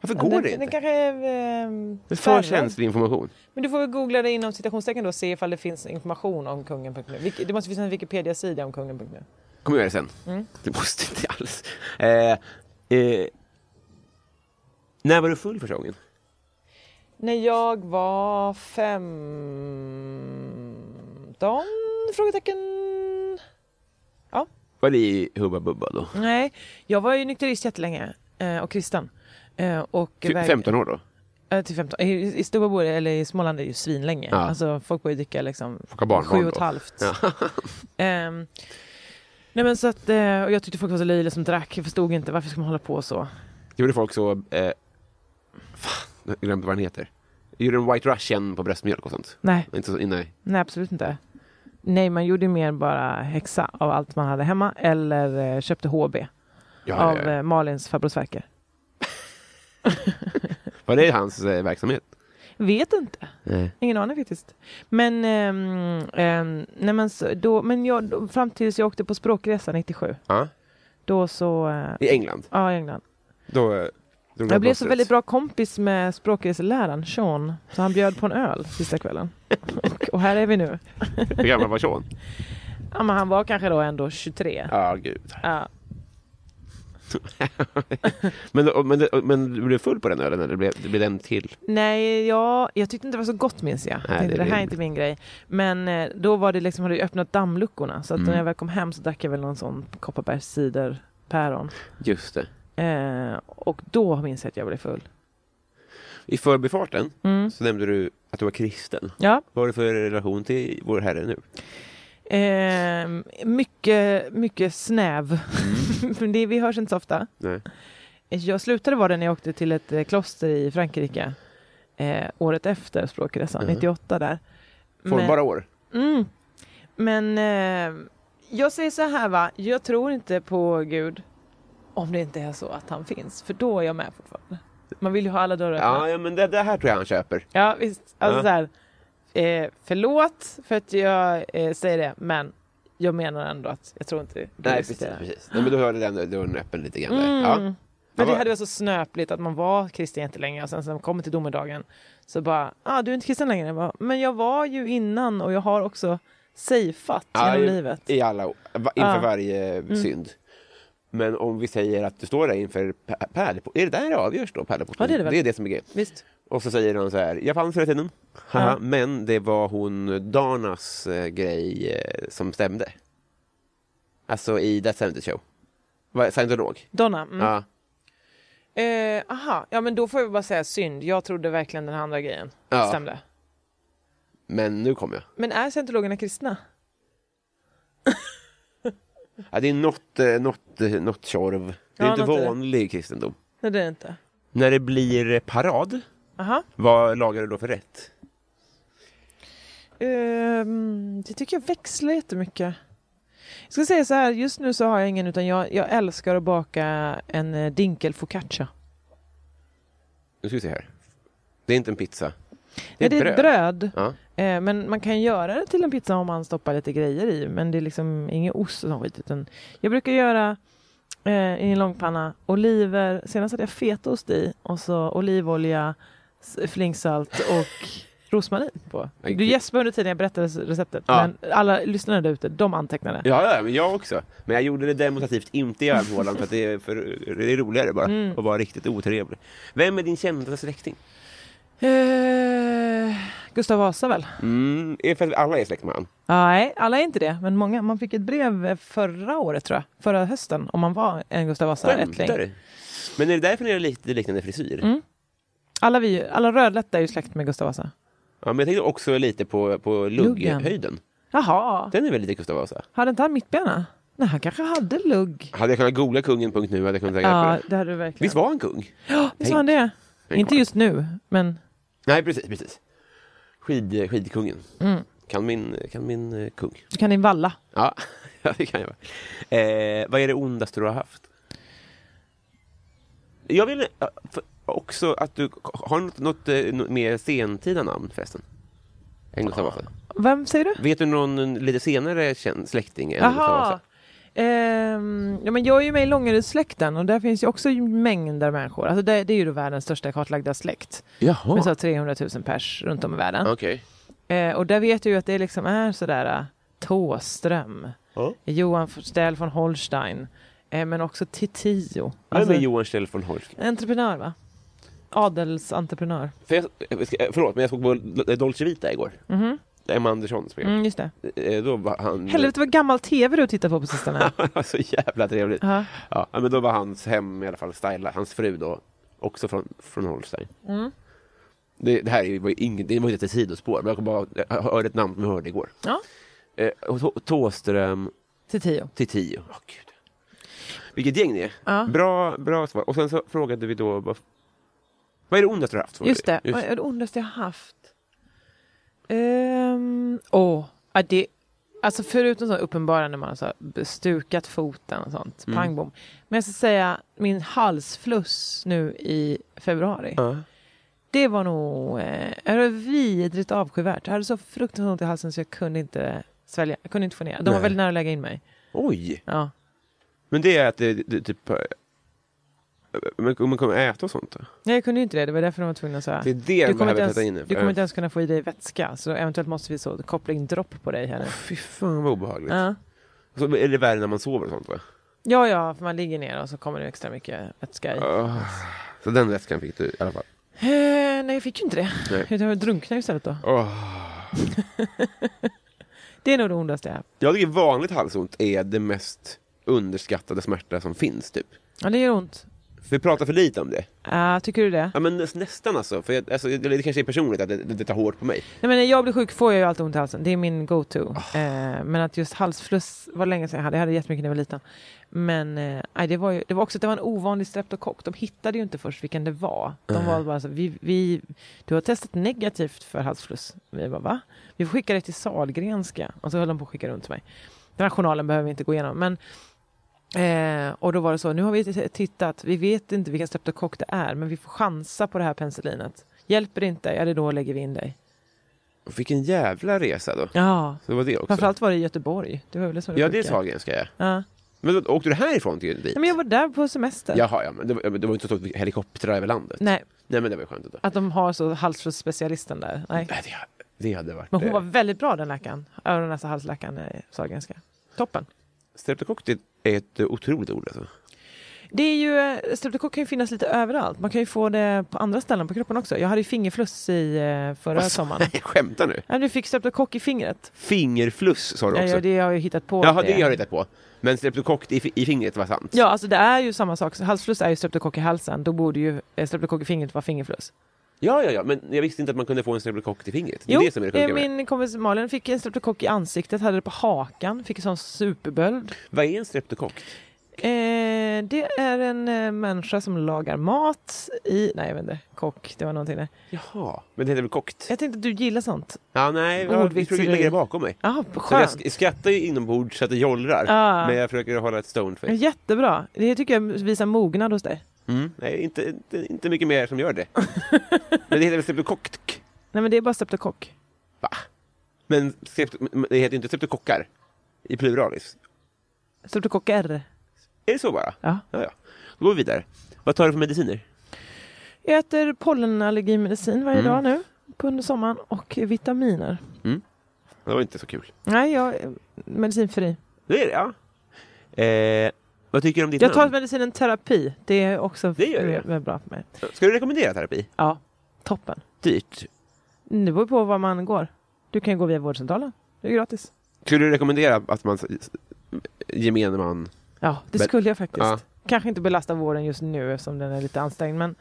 Varför går den, det Den inte? kanske är... ehm, Det är för spärrad. känslig information. Men du får väl googla det inom citationstecken då och se ifall det finns information om kungen.nu. Vilk- Det måste finnas en Wikipedia-sida om kungen.nu. kommer jag göra det sen. Mm. Det måste inte alls. Eh, eh, när var du full första gången? När jag var 15? Frågetecken. Var det i Hubba Bubba då? Nej, jag var ju nykterist jättelänge eh, och kristen. Eh, Och Ty- väg- 15 Typ år då? eh, Till 15. I, i Storbo eller i Småland är det ju svinlänge. Ja. Alltså folk börjar dricka liksom Folk har barnbarn sju och ett då. halvt. Ehm, nej men så att, eh, och jag tyckte folk var så löjliga som drack. Jag förstod inte varför ska man hålla på så. Gjorde folk så... Eh, fan, jag glömde vad den heter. Gjorde en White Russian på bröstmjölk och sånt? Nej, Inte så, nej. Nej, absolut inte. Nej, man gjorde ju mer bara häxa av allt man hade hemma eller eh, köpte HB Ja, av ja, ja. eh, Malins farbrorsverkar. Var det hans eh, verksamhet? Vet inte. Nej. Ingen aning faktiskt. Men, ehm, ehm, nej, men, så, då, men jag, då, fram tills jag åkte på språkresa 97, Ja, då så... Eh, I England? ja, i England. Då, eh, drog Jag blev så plåstret. väldigt bra kompis med språkreseläraren Sean, så han bjöd på en öl sista kvällen. och, och här är vi nu. Hur gammal var Sean? Ja, men han var kanske då ändå 23. Ja, gud. Ja. Men, då- men, det- men du blev full på den ölen eller blev, det blev den till? Nej, jag, jag tyckte inte det var så gott minns jag. jag Nej, tänkte, det det, här är- är inte min grej. Men eh, då var det liksom, hade jag öppnat dammluckorna så att Mm. när jag väl kom hem så drack jag väl någon sån Kopparbergs ciderpäron. Just det. Eh, och då minns jag att jag blev full. I förbifarten Mm. så nämnde du att du var kristen. Ja, Vad har du för relation till vår Herre nu? eh, mycket, mycket snäv. Mm. det, vi hörs inte så ofta. Nej. Jag slutade vara det när jag åkte till ett eh, kloster i Frankrike. Eh, året efter språkresan, Mm. 98 där. Men- Formbara år? Mm. Men eh, jag säger så här va, jag tror inte på Gud om det inte är så att han finns, för då är jag med fortfarande. Man vill ju ha alla dörrar öppna. Ja, ja, men det, det här tror jag han köper. Ja, visst. Alltså Ja. så här, eh, förlåt för att jag eh, säger det, men jag menar ändå att jag tror inte Gud existerar. precis. Nej, men då hörde den dörren öppen lite grann. där. Ja. Mm. Men det vad- hade varit så snöpligt att man var kristen jättelänge och sen när man kommer till domedagen så bara, ah, du är inte kristen längre. Jag bara, men jag var ju innan och jag har också safeat Ja, genom i- livet. I alla, år. Va- inför Ja. Mm. varje synd. Men om vi säger att du står där inför pä- pärleporten, är det där det avgörs då? Pärleporten? Ja, det är det väl. det är det som är grejen. Visst. Och så säger han så här, jag fanns hela tiden. Haha, Ja. Men det var hon Danas eh, grej eh, som stämde. Alltså i That 70 Show. Vad- Scientolog. Donna, mm. Ja. Eh, aha, ja men då får jag bara säga synd. Jag trodde verkligen den här andra grejen Ja. stämde. Men nu kommer jag. Men är scientologerna kristna? Ja, det är något, eh, något, eh, något tjorv. Det är Ja, inte något eh, är det. vanlig kristendom. Nej det är det inte. När det blir eh, parad, Aha. vad lagar du då för rätt? Ehm, det tycker jag växlar jättemycket. Jag ska säga så här, just nu så har jag ingen utan jag, jag älskar att baka en eh, dinkel focaccia. Nu ska vi se här. Det är inte en pizza. Det Nej, är, det är bröd. ett bröd. Ja. Eh, men man kan göra det till en pizza om man stoppar lite grejer i. Men det är liksom ingen ost och sån skit. Utan jag brukar göra eh, i en långpanna oliver. Senast hade jag fetaost i och så olivolja, s- flingsalt och rosmarin på. Nej, Du gud. gäspade under tiden jag berättade receptet, Ja. men alla lyssnare där ute, de antecknade. Ja, ja, men jag också. Men jag gjorde det demonstrativt inte i armhålan för att det är, för, det är roligare bara Mm. att vara riktigt otrevlig. Vem är din kända släkting? Eh, Gustav Vasa väl? Mm, är för att alla är släkt med han. Nej, alla är inte det, men många. Man fick ett brev förra året tror jag, förra hösten, om man var en Gustav Vasa-ättling. Skämtar du? Men är det därför ni har lite liknande frisyr? Mm. Alla, vi, alla rödlätta är ju släkt med Gustav Vasa. Ja, men jag tänkte också lite på, på Luggen. lugghöjden. Jaha, Den är väl lite Gustav Vasa? hade inte han mittbena? Nej, han kanske hade lugg. Hade jag kunnat googla kungen.nu hade jag kunnat ta reda Ja, på det. det hade du verkligen. Visst var han kung? Ja, visst var han det? Tänk Inte bara. just nu, men Nej, precis. precis. Skid, skidkungen. Mm. Kan, min, kan min eh, kung. du kan din valla. Ja, ja, det kan jag. vara. Eh, vad är det ondaste du har haft? Jag vill eh, för- också att du har något, något eh, nå- mer sentida namn förresten. Än Gustav Vasa. Vem säger du? Vet du någon eh, lite senare känd släkting än Gustav Jaha. Vasa? Ehm, ja, men jag är ju med i Långerudssläkten och där finns ju också mängder människor. Alltså det, det är ju då världens största kartlagda släkt. Med så Jaha. här 300 000 pers runt om i världen. Okej. Eh, och där vet jag ju att det liksom är sådär Tåström, Ja. Johan Ställ von Holstein, eh, men också Titio. Vem Alltså, är Johan Kjell von Holst? entreprenör va? Adelsentreprenör. För jag, jag ska- eh, förlåt, men jag såg på Dol- Dolce Vita igår. Mhm. Emma Anderssons program. Mm, just det. Eh, Då var han... Helvete vad gammal tv du tittar på på sistone. så jävla trevligt. Ja. Ja, men då var hans hem i alla fall stylat, hans fru då, också från, från Holstein. Mm. Det, det här är ju- var ju inget, det var ju ett sidospår, men jag, kom bara, jag hörde ett namn som jag hörde igår. Ja. Eh, och Tå- Tåström Titio. till tio. Åh, gud. Vilket gäng det är. Ja. Bra, bra svar. Och sen så frågade vi då, vad, vad är det ondaste du har haft? Just det, vad är det ondaste jag haft? Ehm, Åh, ja, det, alltså förutom så uppenbara när man har så här stukat foten och sånt, pang bom. Men jag ska säga min halsfluss nu i februari. Ja. Det var nog eh, det var vidrigt avskyvärt. Jag hade så fruktansvärt ont i halsen så jag kunde inte svälja. Jag kunde inte få ner. De var Nej. väldigt nära att lägga in mig. Oj! Ja. Men det är att det, det typ... eh, Men om man kommer äta och sånt då? Nej, jag kunde ju inte det. Det var därför de var tvungna att säga. Det är det Du man kommer, inte behöver ens, sätta in. det för. du kommer inte ens kunna få i dig vätska. Så eventuellt måste vi så koppla in dropp på dig här nu. Fy fan vad obehagligt. Ja. Och Så är det värre när man sover och sånt va? Ja, ja, för man ligger ner och så kommer det extra mycket vätska i. Ah, Så den väskan fick du i alla fall. Eh, nej, jag fick ju inte det. Nej. Utan jag drunknade istället då. Oh. Det är nog det ondaste jag haft. Jag tycker vanligt halsont är det mest underskattade smärta som finns typ. Ja, det gör ont. Vi pratar för lite om det. Ah, tycker du det? Ja men näs- nästan alltså. För jag, alltså eller det kanske är personligt att det, det, det tar hårt på mig. Nej, men när jag blir sjuk får jag ju alltid ont i halsen. Det är min go-to. Eh, men att just halsfluss var länge sedan jag hade. Jag hade jättemycket när jag var liten. Men eh, nej, det, var ju, det var också att det var en ovanlig streptokock. De hittade ju inte först vilken det var. De var bara så, vi, vi, du har testat negativt för halsfluss. Vi bara, va? Vi får skicka det till Sahlgrenska. Och så höll de på att skicka runt till mig. Den här journalen behöver vi inte gå igenom. Men Eh, och då var det så, nu har vi t- tittat, vi vet inte vilken streptokock det är, men vi får chansa på det här penicillinet. Hjälper det inte, ja det är då lägger vi in dig. Och vilken jävla resa då. Ja, Så det var det också. framförallt var det i Göteborg. Det var väl det som var ja det är sjuka. Sahlgrenska ja. Ja. Men då, åkte du härifrån till dit? Nej, men jag var där på semester. Jaha ja, men det, var- ja, men det var ju inte så att vi- helikoptrar över landet. Nej, Nej men det var ju skönt ändå. att de har så halsflussspecialisten där. Nej. Nej, det, det hade varit... Men hon eh, var väldigt bra den läkaren, öron näsa halsläkaren i Sahlgrenska. Toppen. Streptokock det är ett eh, otroligt ord alltså. Det är ju, eh, streptokock kan ju finnas lite överallt. Man kan ju få det på andra ställen på kroppen också. Jag hade ju fingerfluss i eh, förra sommaren. Nej, skämtar nu? Ja, du fick streptokock i fingret. Fingerfluss sa du Ja, också. ja, det har jag ju hittat på. Jaha, att det har jag hittat på. Men streptokock i, i fingret var sant. Ja, alltså det är ju samma sak. Halsfluss är ju streptokock i halsen. Då borde ju eh, streptokock i fingret vara fingerfluss. ja, ja, ja, men jag visste inte att man kunde få en streptokock i fingret. Det är Jo, det som är det sjuka eh, med det. min kompis Malin fick en streptokock i ansiktet, hade det på hakan, fick en sån superböld. Vad är en streptokock? Eh, det är en eh, människa som lagar mat i... Nej, jag vet inte. Kock, det var någonting där. Jaha, men det heter väl kokt? Jag tänkte att du gillar sånt. Ja, nej, jag Ordvitseri. försöker lägga det bakom mig. Ja, Så jag skönt. Ah. sk- skrattar ju inombords så att det jollrar, Ja. men jag försöker hålla ett stone face. Jättebra. Det tycker jag visar mognad hos dig. Mm. Nej, inte, inte, inte mycket mer som gör det. men det heter väl streptokock? Nej, men det är bara streptokock. Men strepto- men det heter ju inte streptokockar i pluralis. Streptokocker. Är det så bara? Ja. Ja, ja. Då går vi vidare. Vad tar du för mediciner? Mm. Jag äter pollenallergimedicin varje dag nu. på under sommaren och vitaminer. Det var inte så kul. Nej, jag är medicinfri. Det är det, ja. Eh, vad tycker du om ditt Jag tar namn? medicinen terapi. Det är också Det gör det. väldigt bra för mig. Ska du rekommendera terapi? Ja, toppen. Dyrt. Det beror på var man går. Du kan ju gå via vårdcentralen. Det är gratis. Skulle du rekommendera att man, gemene man... Ja, det Men- skulle jag faktiskt. Ja. Kanske inte belasta vården just nu eftersom den är lite anstängd. Men,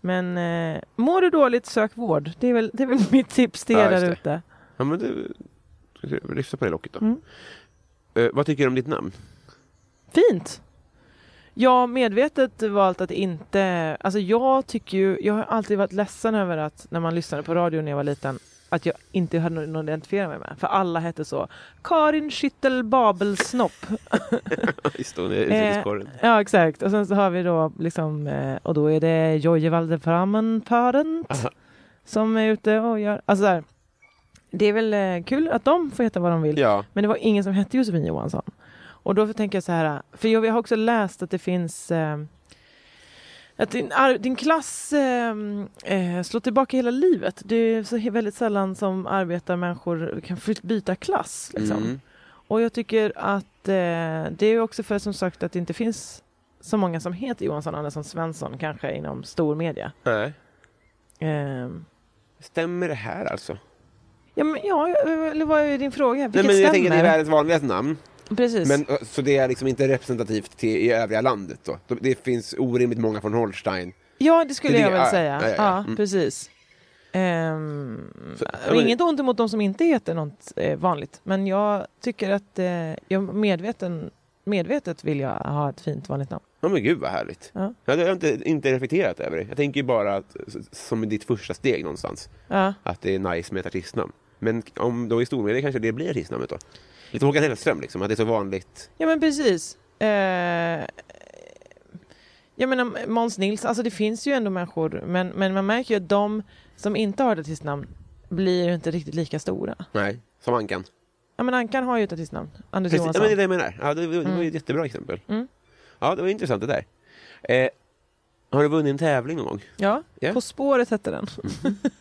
men eh, mår du dåligt, sök vård. Det är väl, det är väl mitt tips till Ja, er just där det. ute. Ja, men du... Ska du lyfta på det locket då? Mm. Eh, vad tycker du om ditt namn? Fint! Jag har medvetet valt att inte... Alltså jag tycker ju... Jag har alltid varit ledsen över att när man lyssnade på radio när jag var liten att jag inte hade någon att identifiera mig med. För alla hette så. Karin Skyttel Babelsnopp. Just då, det är Eh, utrikeskåren. Ja, exakt. Och sen så har vi då liksom... eh, Och då är det Jojje Valdeframen Parent Aha. som är ute och gör... Alltså där. Det är väl eh, kul att de får heta vad de vill. Ja, Men det var ingen som hette Josefin Johansson. Och då tänker jag så här, för jag, jag har också läst att det finns eh, att din, ar- din klass eh, eh, slår tillbaka hela livet. Det är så he- väldigt sällan som arbetarmänniskor kan fritt byta klass. Liksom. Mm. Och jag tycker att eh, det är också för som sagt att det inte finns så många som heter Johansson, Andersson, Svensson kanske inom stor media. Nej. Eh, Stämmer det här alltså? ja, men, ja, eller vad är din fråga? Nej, Vilket men jag tänker stämmer? att det är världens vanligaste namn. Precis. Men, eh, så det är liksom inte representativt till, i övriga landet då? De- Det finns orimligt många från Holstein. Ja, det skulle Det är jag det- väl ja, säga. ja, Ja, ja, ja. Mm. precis. Ehm, Så- och inget ont emot de som inte heter något eh, vanligt, men jag tycker att eh, jag medveten, medvetet vill jag ha ett fint vanligt namn. Ja men gud vad härligt. Ja. Ja, det har jag inte, inte reflekterat över. det. Jag tänker ju bara att, s- som i ditt första steg någonstans, Ja. att det är nice med ett artistnamn. Men k- om då i stormedia kanske det blir artistnamnet då? Lite Håkan Hellström liksom, att det är så vanligt. ja, men precis. Eh, jag menar Måns Nils, alltså det finns ju ändå människor, men, men man märker ju att de som inte har ett artistnamn blir ju inte riktigt lika stora. Nej. Som Ankan. Ja, men Ankan har ju ett artistnamn, Anders Precis, ja, men Johansson. det är Mm. det jag menar. Ja, det, det var ju ett jättebra exempel. Ja, det var intressant det där. Eh, har du vunnit en tävling någon gång? Ja, Ja. Mm. På spåret hette den.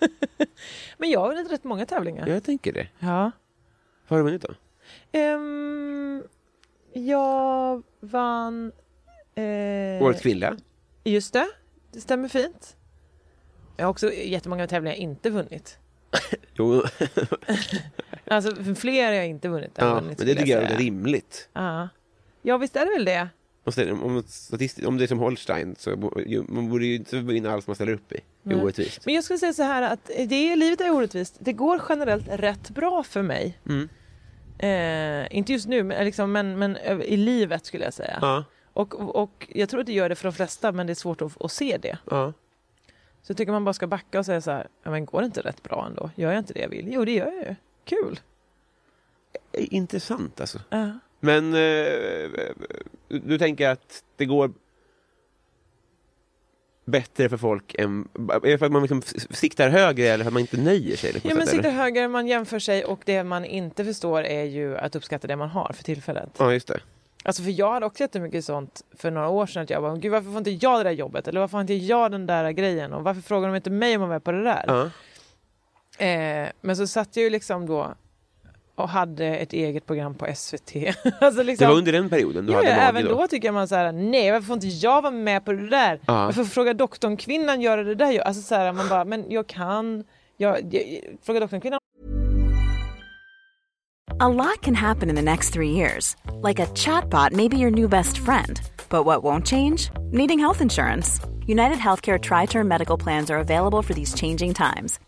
Men jag har vunnit rätt många tävlingar. Ja, jag tänker det. Ja. Vad har du vunnit då? Ehm, jag vann... eh, Årets kvinna? Just det, det stämmer fint. Jag har också jättemånga tävlingar jag inte vunnit. Jo, Alltså fler har jag inte vunnit. än ja, men vunnit det skulle tycker jag är säga. rimligt. Ja. ja, visst är det väl det? Och sen, om, statistiskt- om det är som Holstein så bo- ju, man borde ju inte vinna allt man ställer upp i. Det är Nej. orättvist. Men jag skulle säga så här att det, livet är orättvist. Det går generellt rätt bra för mig. Mm. Eh, inte just nu, men, liksom, men, men över- i livet skulle jag säga. Ja, Och, och jag tror att det gör det för de flesta, men det är svårt att, att se det. ja. Så jag tycker man bara ska backa och säga så här, ja men går det inte rätt bra ändå? Gör jag inte det jag vill? Jo, det gör jag ju. Kul! Eh, Intressant alltså. Ja. Men eh, du tänker att det går bättre för folk än... Är det för att man liksom s- siktar högre eller för att man inte nöjer sig? Liksom, Ja, men eller? sitter högre, man jämför sig och det man inte förstår är ju att uppskatta det man har för tillfället. Ja, just det. Alltså för jag hade också jättemycket sånt för några år sedan att jag bara, gud varför får inte jag det där jobbet? Eller varför har inte jag den där grejen? Och varför frågar de inte mig om jag var på det där? Ja. Eh, men så satt jag ju liksom då och hade ett eget program på SVT. alltså Det liksom, var under den perioden du Ja, hade ja, radio även då. tycker man så här, nej varför får inte jag vara med på det där? Ja. Varför frågar doktorn kvinnan göra det där? Alltså så här, man bara, men jag kan, jag, jag, fråga doktorn kvinnan A lot can happen in the next three years. Like a chatbot may be your new best friend. But what won't change? Needing health insurance. United Healthcare Tri Term Medical Plans are available for these changing times.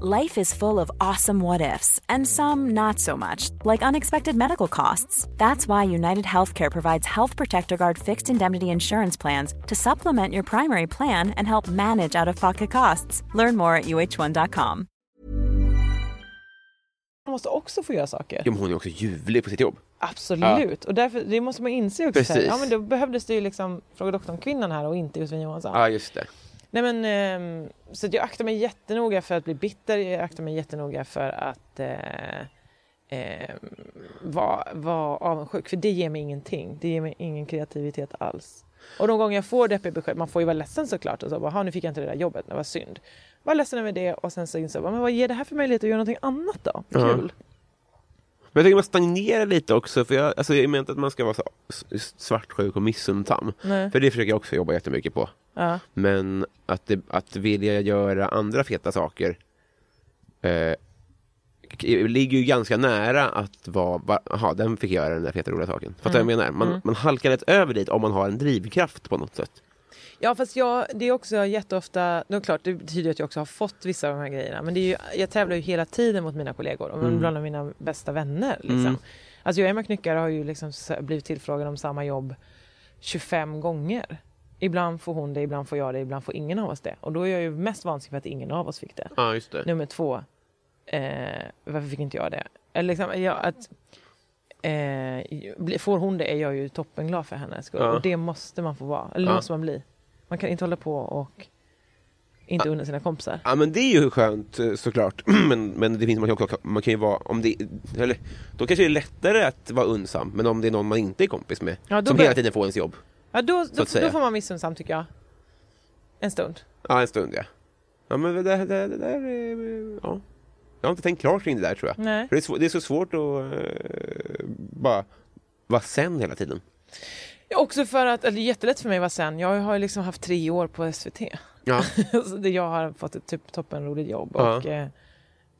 Life is full of awesome what ifs, and some not so much, like unexpected medical costs. That's why United Healthcare provides Health Protector Guard fixed indemnity insurance plans to supplement your primary plan and help manage out of pocket costs. Learn more at uh1.com. hon måste också få göra saker. Ja, men hon är också ljuvlig på sitt jobb. Absolut, och därför, det måste man inse också. så här, Precis. Ja, men då behövdes det ju liksom Fråga doktorn-kvinnan här och inte Josefin Johansson. Ja, just det. Nej, men, ehm, så att jag aktar mig jättenoga för att bli bitter, jag aktar mig jättenoga för att eh, ehm, vara vara avundsjuk, för det ger mig ingenting. Det ger mig ingen kreativitet alls. Och de gånger jag får deppiga besked, man får ju vara ledsen såklart och så bara, "Jaha, nu fick jag inte det där jobbet, det var synd. Var ledsen över det och sen så insåg jag, bara, men vad ger det här för möjlighet att göra någonting annat då? Ja. Kul! Men jag tycker man stagnerar lite också. För jag, alltså, jag menar inte att man ska vara så s- svartsjuk och missundsam. Nej. För det försöker jag också jobba jättemycket på. Ja. Men att, det, att vilja göra andra feta saker eh, k- ligger ju ganska nära att vara, va- jaha, den fick göra den där feta roliga saken. Fattar du vad jag Mm. menar? Man, man halkar lätt över dit om man har en drivkraft på något sätt. Ja fast jag, det är också jätteofta, det är klart det betyder ju att jag också har fått vissa av de här grejerna men det är ju, jag tävlar ju hela tiden mot mina kollegor och bland mina bästa vänner. Liksom. Alltså jag och Emma Knyckare har ju liksom s- blivit tillfrågade om samma jobb 25 gånger. Ibland får hon det, ibland får jag det, ibland får ingen av oss det. Och då är jag ju mest vansinnig för att ingen av oss fick det. Ja, just det. Nummer två, eh, varför fick inte jag det? Eller liksom, ja, att, eh, bli- får hon det är jag ju toppenglad för hennes skull. Ja. Och det måste man få vara, eller Ja. måste man bli. Man kan inte hålla på och inte unna sina kompisar. Ja men det är ju skönt eh, såklart. men, men det finns man kan, också- man kan ju vara, om det, eller, då kanske det är lättare att vara unsam. Men om det är någon man inte är kompis med. Ja, då som bör- hela tiden får ens jobb. Ja, då, då, då, att säga. får man missunnsam tycker jag. En stund. Ja en stund ja. Ja men det, det, det där är, ja. Jag har inte tänkt klart kring det där tror jag. Nej. För det, är svå- det är så svårt att eh, bara vara sen hela tiden. Ja, Också för att, eller det är jättelätt för mig att vara sen. Jag har ju liksom haft tre år på SVT. Ja. Så det- jag har fått ett typ toppenroligt jobb Ja. och eh,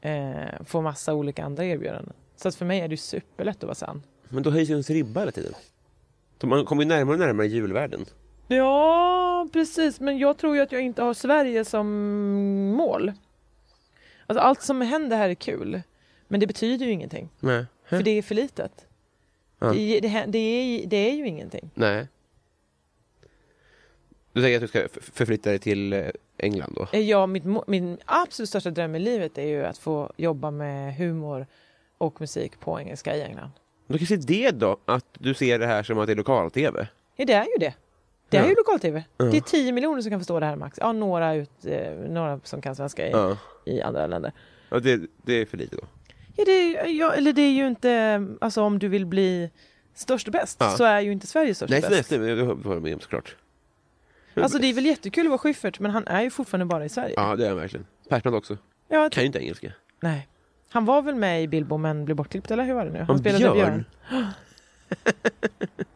eh, får massa olika andra erbjudanden. Så att för mig är det ju superlätt att vara sen. Men då höjs ju ens ribba hela tiden. Så man kommer ju närmare och närmare julvärlden. Ja, precis. Men jag tror ju att jag inte har Sverige som mål. Alltså, allt som händer här är kul, men det betyder ju ingenting. Nej. För det är för litet. Det, det, hä- det, är, det är ju ingenting. Nej. Du tänker att du ska f- förflytta dig till eh, England då? Ja, mitt, må- min absolut största dröm i livet är ju att få jobba med humor och musik på engelska i England. Då kanske det då, att du ser det här som att det är lokal-tv? Ja, det är ju det. Det är Ja. ju lokal-tv. Det är 10 miljoner som kan förstå det här max. Ja, några, ut, eh, några som kan svenska i, Ja. i andra länder. ja det, det är för lite då? Ja, det är, ja, eller det är ju inte, alltså om du vill bli störst och bäst Ja. så är ju inte Sverige störst och Nej, bäst. nej, nej, men det håller jag med om såklart. Alltså det är väl jättekul att vara Schyffert men han är ju fortfarande bara i Sverige. Ja, det är jag verkligen. Persbrandt också. Ja, Kan ju inte engelska. nej. Han var väl med i Bilbo men blev bortklippt eller hur var det nu? Han Om spelade Björn? Björn.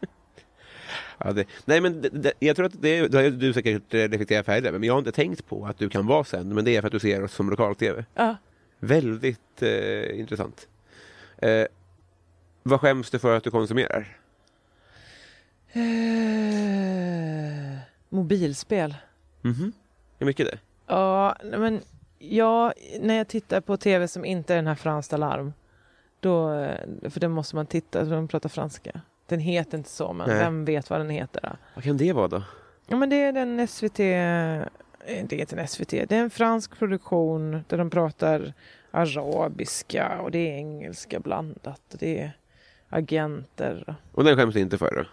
Ja, det, nej, men det, det, jag tror att det, det har ju du säkert eh, reflekterat färdigt över, men jag har inte tänkt på att du kan vara sänd, men det är för att du ser oss som lokal-tv. Ja. Väldigt eh, intressant. Eh, vad skäms du för att du konsumerar? Eh, mobilspel. Mhm. Hur mycket det? Ja, nej, men jag, när jag tittar på tv som inte är den här Frans Alarm, då, eh, för den måste man titta, för de pratar franska. Den heter inte så, men Nej. vem vet vad den heter? Då? Vad kan det vara då? Ja, men det är den SVT... eh, Det är inte en SVT, det är en fransk produktion där de pratar arabiska och det är engelska blandat och det är agenter. Och den skäms du inte för då?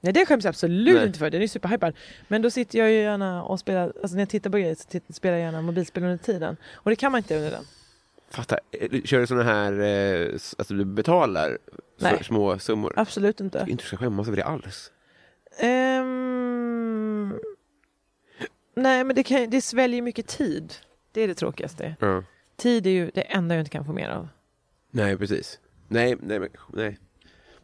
Nej, det skäms jag absolut Nej. inte för, den är ju superhypad. Men då sitter jag ju gärna och spelar, alltså när jag tittar på grejer så titt- spelar jag gärna mobilspel under tiden. Och det kan man inte under den. Fattar. Eh, Kör du såna här, eh, s- alltså du betalar för Nej. Alltså. små summor? Absolut inte. Jag inte du ska skämmas över det alls. Ehm, nej, men det, kan, det sväljer mycket tid. Det är det tråkigaste. Ja. Tid är ju det enda jag inte kan få mer av. Nej, precis. Nej, nej, men- nej.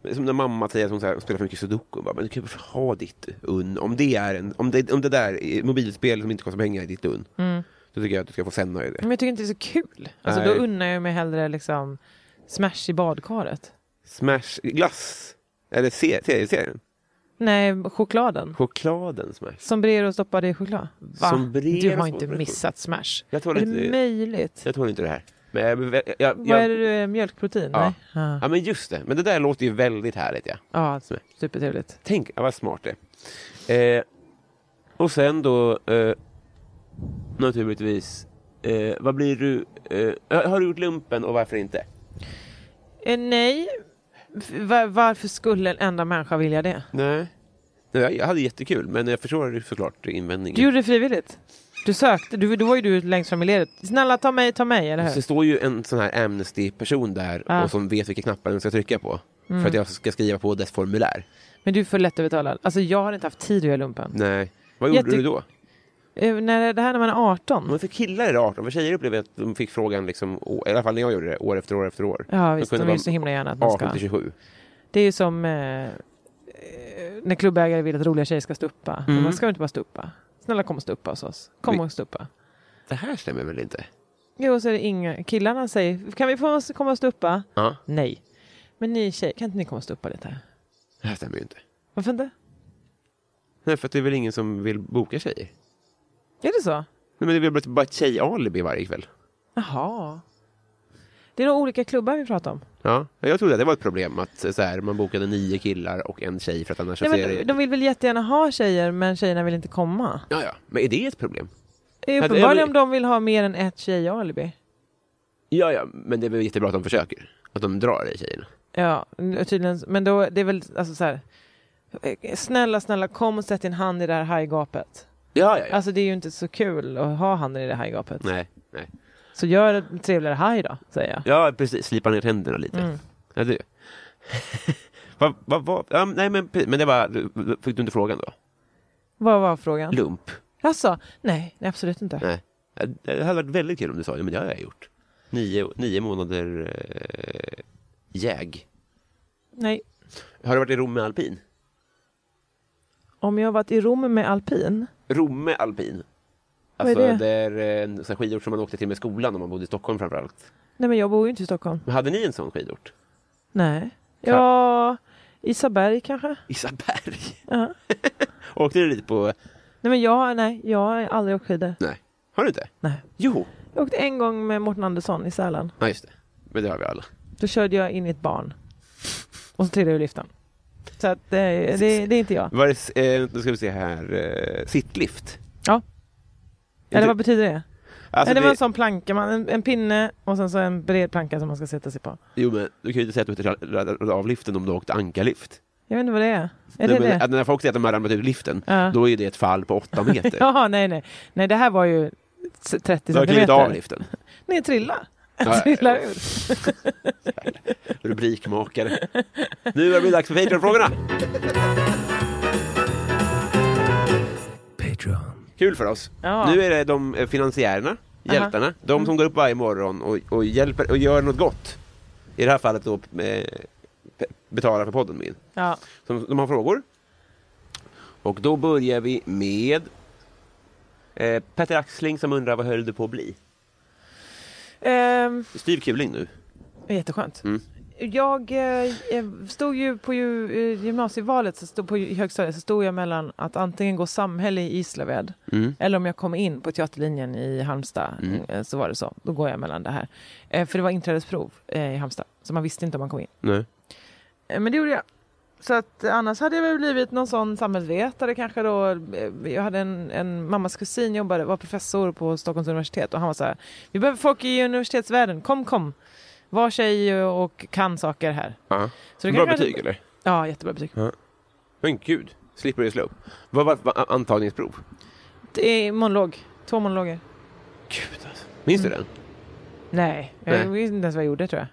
Men Som när mamma säger att hon så här, spelar för mycket sudoku. Bara, men du kan ju ha ditt unn. Om det, är en, om det, om det där är mobilspel som inte kostar pengar är ditt unn. Mm. Då tycker jag att du ska få sen nöjd. Men jag tycker inte det är så kul. Alltså, Nej. då unnar jag mig hellre liksom smash i badkaret. Smash glass. Eller se- serieserien. Nej, chokladen. Chokladen smash. Sombrero stoppade i choklad. Va? Sombrero du har inte stoppade i missat smash. Jag Är tål det inte, möjligt? jag tål inte det här. Men jag, jag, jag, Vad är det, eh, mjölkprotein? Ja. Nej? Ja, Ja, men just det. Men det där låter ju väldigt härligt. Ja. ja supertrevligt. Tänk, ja, vad smart det är. eh, Och sen då eh, naturligtvis, eh, vad blir du, eh, har du gjort lumpen och varför inte? Eh, nej. F- va- varför skulle en enda människa vilja det? Nej. Nej, jag- Jag hade jättekul, men jag förstår ju såklart invändningen. Du gjorde det frivilligt. Du sökte, du, då var ju du längst fram i ledet. Snälla ta mig, ta mig, eller Så det hur? står ju en sån här Amnesty-person där Ja. och som vet vilka knappar den ska trycka på. Mm. För att jag ska skriva på dess formulär. Men du är för lättövertalad. Alltså jag har inte haft tid att göra lumpen. Nej. Vad gjorde Jätte- du då? Eh, när, det här när man är 18. Men för killar är det 18, för tjejer upplever jag att de fick frågan, liksom, å- i alla fall när jag gjorde det, år efter år efter år. Ja De visst, kunde de vill vara ju så himla gärna att man 18 ska. till 27. Det är ju som eh, eh, när klubbägare vill att roliga tjejer ska stuppa. Men Man ska väl inte bara stuppa? Snälla kom och stuppa hos oss. Kom Mm. Vi- och stuppa. Det här stämmer väl inte? Jo, så är det inga. Killarna säger, kan vi få komma och stuppa? Ja, Nej. Men ni tjejer, kan inte ni komma och stuppa lite här? det här stämmer ju inte. Varför inte? Nej, för att det är väl ingen som vill boka tjejer? Nej, Är det så? men det är väl bara ett tjejalibi varje kväll? Jaha. Det är nog olika klubbar vi pratar om. Ja, jag trodde att det var ett problem att eh, så här, man bokade nio killar och en tjej för att annars så Nej, ser det... men de vill väl jättegärna ha tjejer, men tjejerna vill inte komma. Ja, ja. Men är det ett problem? Det är Ja, det är väl- uppenbarligen om de vill ha mer än ett tjejalibi. Ja, ja, men det är väl jättebra att de försöker. Att de drar i tjejerna. Ja, tydligen. Men då, det är väl alltså så här. eh, Snälla, snälla kom och sätt din hand i det här hajgapet. Ja, ja, ja. Alltså det är ju inte så kul att ha handen i det här hajgapet. Nej, nej. Så gör ett trevligare haj då, säger jag. Ja, precis. Slipa ner tänderna lite. Mm. Ja, det... vad, vad, vad? Ja, nej, men, pre- men det var... Fick du inte frågan då? Vad var frågan? Lump? Alltså, nej, nej, absolut inte. Nej. Ja, Det hade varit väldigt kul om du sa ja, men det har jag gjort. Nio, nio månader eh, jäg. Nej. Har du varit i Romme alpin? Om jag varit i Rom med alpin? Romme alpin. Vad är Alltså, det? det är eh, en sån här skidort som man åkte till med skolan om man bodde i Stockholm framförallt. Nej, men jag bor ju inte i Stockholm. Men hade ni en sån skidort? Nej. Ja, Isaberg kanske? Isaberg? Ja. åkte du dit på... Nej, men jag, nej, jag har aldrig åkt skidor. Nej. Har du inte? Nej. Jo. Jag åkte en gång med Morten Andersson i Sälen. Ja, just det. Men det har vi alla. Då körde jag in i ett barn. Och så trillade jag ur liften. Så att, eh, det, det är inte jag. Var det, eh, nu ska vi se här, eh, sittlift. Ja. Eller vad betyder det? Alltså, Nej, det var det- en sån planka, man, en, en pinne och sen så en bred planka som man ska sätta sig på. Jo men du kan ju inte säga att du inte ramlade av liften om du åkte ankarlift. Jag vet inte vad det är. Är Nej, det men, det? Att när folk säger att de har ramlat ur liften, Ja. då är det ett fall på åtta meter. Jaha, nej, nej. Nej, det här var ju s- 30 Du har klivit av centimeter. liften. Nej, trilla. Ja, Trilla ur. Rubrikmakare. Nu har det blivit dags för Patreon-frågorna. Patreon. Kul för oss. Ja. Nu är det de eh, finansiärerna, hjältarna, de som går upp varje morgon och, och hjälper och gör något gott. I det här fallet då eh, pe- betalar för podden min. Ja. som de har frågor. Och då börjar vi med eh, Petter Axling som undrar vad höll du på att bli? Ehm, Styv kuling nu. jätteskönt. Mm. Jag eh, stod ju på ju, eh, gymnasievalet, så stod på ju- i högstadiet, så stod jag mellan att antingen gå samhälle i Gislaved Mm. Eller om jag kom in på teaterlinjen i Halmstad eh, så var det så. Då går jag mellan det här. Eh, För det var inträdesprov eh, i Halmstad. Så man visste inte om man kom in. Nej. Eh, Men det gjorde jag. Så att eh, annars hade jag väl blivit någon sån samhällsvetare kanske då. Eh, Jag hade en, en mammas kusin jobbade, var professor på Stockholms universitet och han var så här. Vi behöver folk i universitetsvärlden. Kom, kom. Var tjej och kan saker här. Ja. Så det Bra kanske- betyg eller? Ja, jättebra betyg. Men gud, slippery slope. Vad var var antagningsprov? Det är monolog. Två monologer. Gud alltså. Minns du den? Nej, jag Nej. visste inte ens vad jag gjorde tror jag.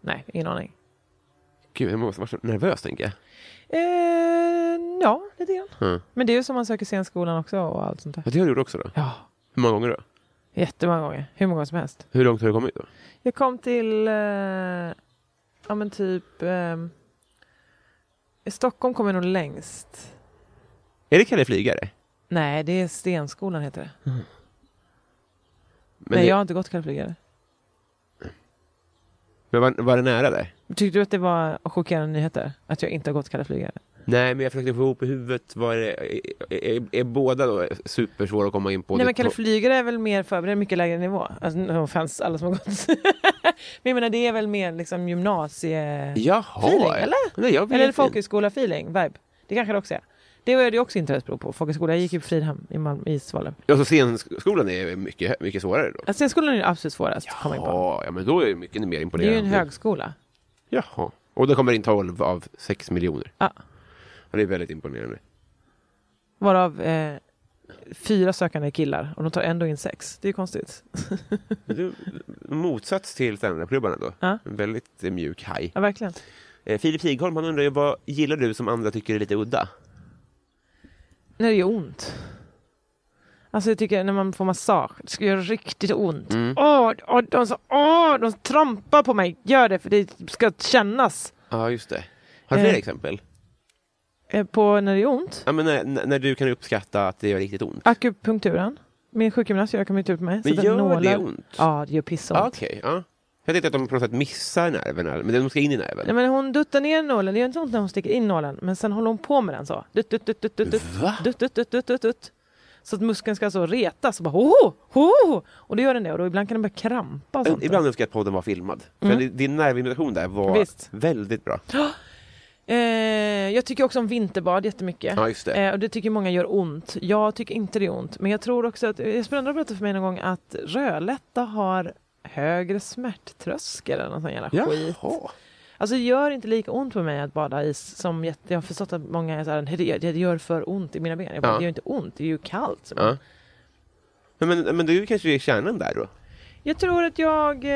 Nej, ingen aning. Gud, jag måste vara så nervös tänker jag. Eh, ja, lite grann. Ja. Men det är ju som man söker scenskolan också och allt sånt där. Ja, det har du gjort också då? Ja, Hur många gånger då? jättemånga gånger. Hur många gånger som helst. Hur långt har du kommit då? Jag kom till, eh, ja men typ, eh, i Stockholm kom jag nog längst. Är det Kalle Flygare? Nej, det är Stenskolan heter det. Men, Nej, det, jag har inte gått kallflygare. men var, var det nära det? Tyckte du att det var chockerande nyheter? Att jag inte har gått kallflygare? Nej, men jag försökte få ihop i huvudet. Var det, är, är, är båda då supersvåra att komma in på? Nej Det- men kallflygare är väl mer förberedd, mycket lägre nivå. Alltså, no offense, alla som har gått. men jag menar det är väl mer liksom gymnasie... Jaha! Feeling, eller? Nej, jag vet Eller inte. folkhögskola-feeling, vibe. Det kanske det också är. Det var det också inträdesprov på folkhögskola. Jag gick ju på Fridhem i, Malmö, i Svalöv. Ja, så scenskolan är mycket, mycket svårare då? Alltså, scenskolan är det absolut svårast att komma in på. Ja, ja, men då är det mycket mer Det är ju en imponerande. högskola. Jaha. Och då kommer in 12 av 6 miljoner. Ja. Ja, det är väldigt imponerande. Varav eh, fyra sökande är killar och de tar ändå in sex. Det är ju konstigt. Du, motsats till standupklubbarna då. Ja. En väldigt eh, mjuk haj. Ja, verkligen. Eh, Filip Sigholm, han undrar ju vad gillar du som andra tycker är lite udda? När det gör ont. Alltså jag tycker när man får massage, det ska göra riktigt ont. Mm. Åh, åh, de, så, åh, de trampar på mig. Gör det för det ska kännas. Ja, just det. Har du fler Eh. exempel? Eh, På när det gör ont. Ja, men när, när när du kan uppskatta att det gör riktigt ont. Akupunkturen. Min sjukgymnast gör akupunktur på mig. Men sätter gör det nålar. ont? Ja, det gör pissont. Ja, Okej, ja. Jag tänkte att de på något sätt missar nerverna, men de ska in i nerven. Nej, men hon duttar ner nålen, det gör inte ont när hon sticker in nålen, men sen håller hon på med den så. Dutt, dutt, dutt, dutt, dutt, dutt, Va? dutt, dutt, dutt, dutt, dutt, dutt. Så att muskeln ska alltså så retas och bara hoho, hoho. Och då gör den det och då ibland kan den börja krampa och sånt. Ibland önskar jag att podden var filmad. För Mm. din- din nervimitation där var Visst. väldigt bra. Eh, jag tycker också om vinterbad jättemycket. Ja, just det. Eh, och det tycker många gör ont. Jag tycker inte det är ont. Men jag tror också att, Jesper Rönndahl berättade för mig någon gång att rödlätta har högre smärttröskel eller någon sån jävla skit. Jaha. Alltså det gör inte lika ont på mig att bada i is som jätte, jag har förstått att många är så här, "Nej, det, gör- det gör för ont i mina ben. Jag bara, Ja. det gör inte ont, det är ju kallt. Ja. Men, men, men du kanske är kärnan där då? Jag tror att jag, eh,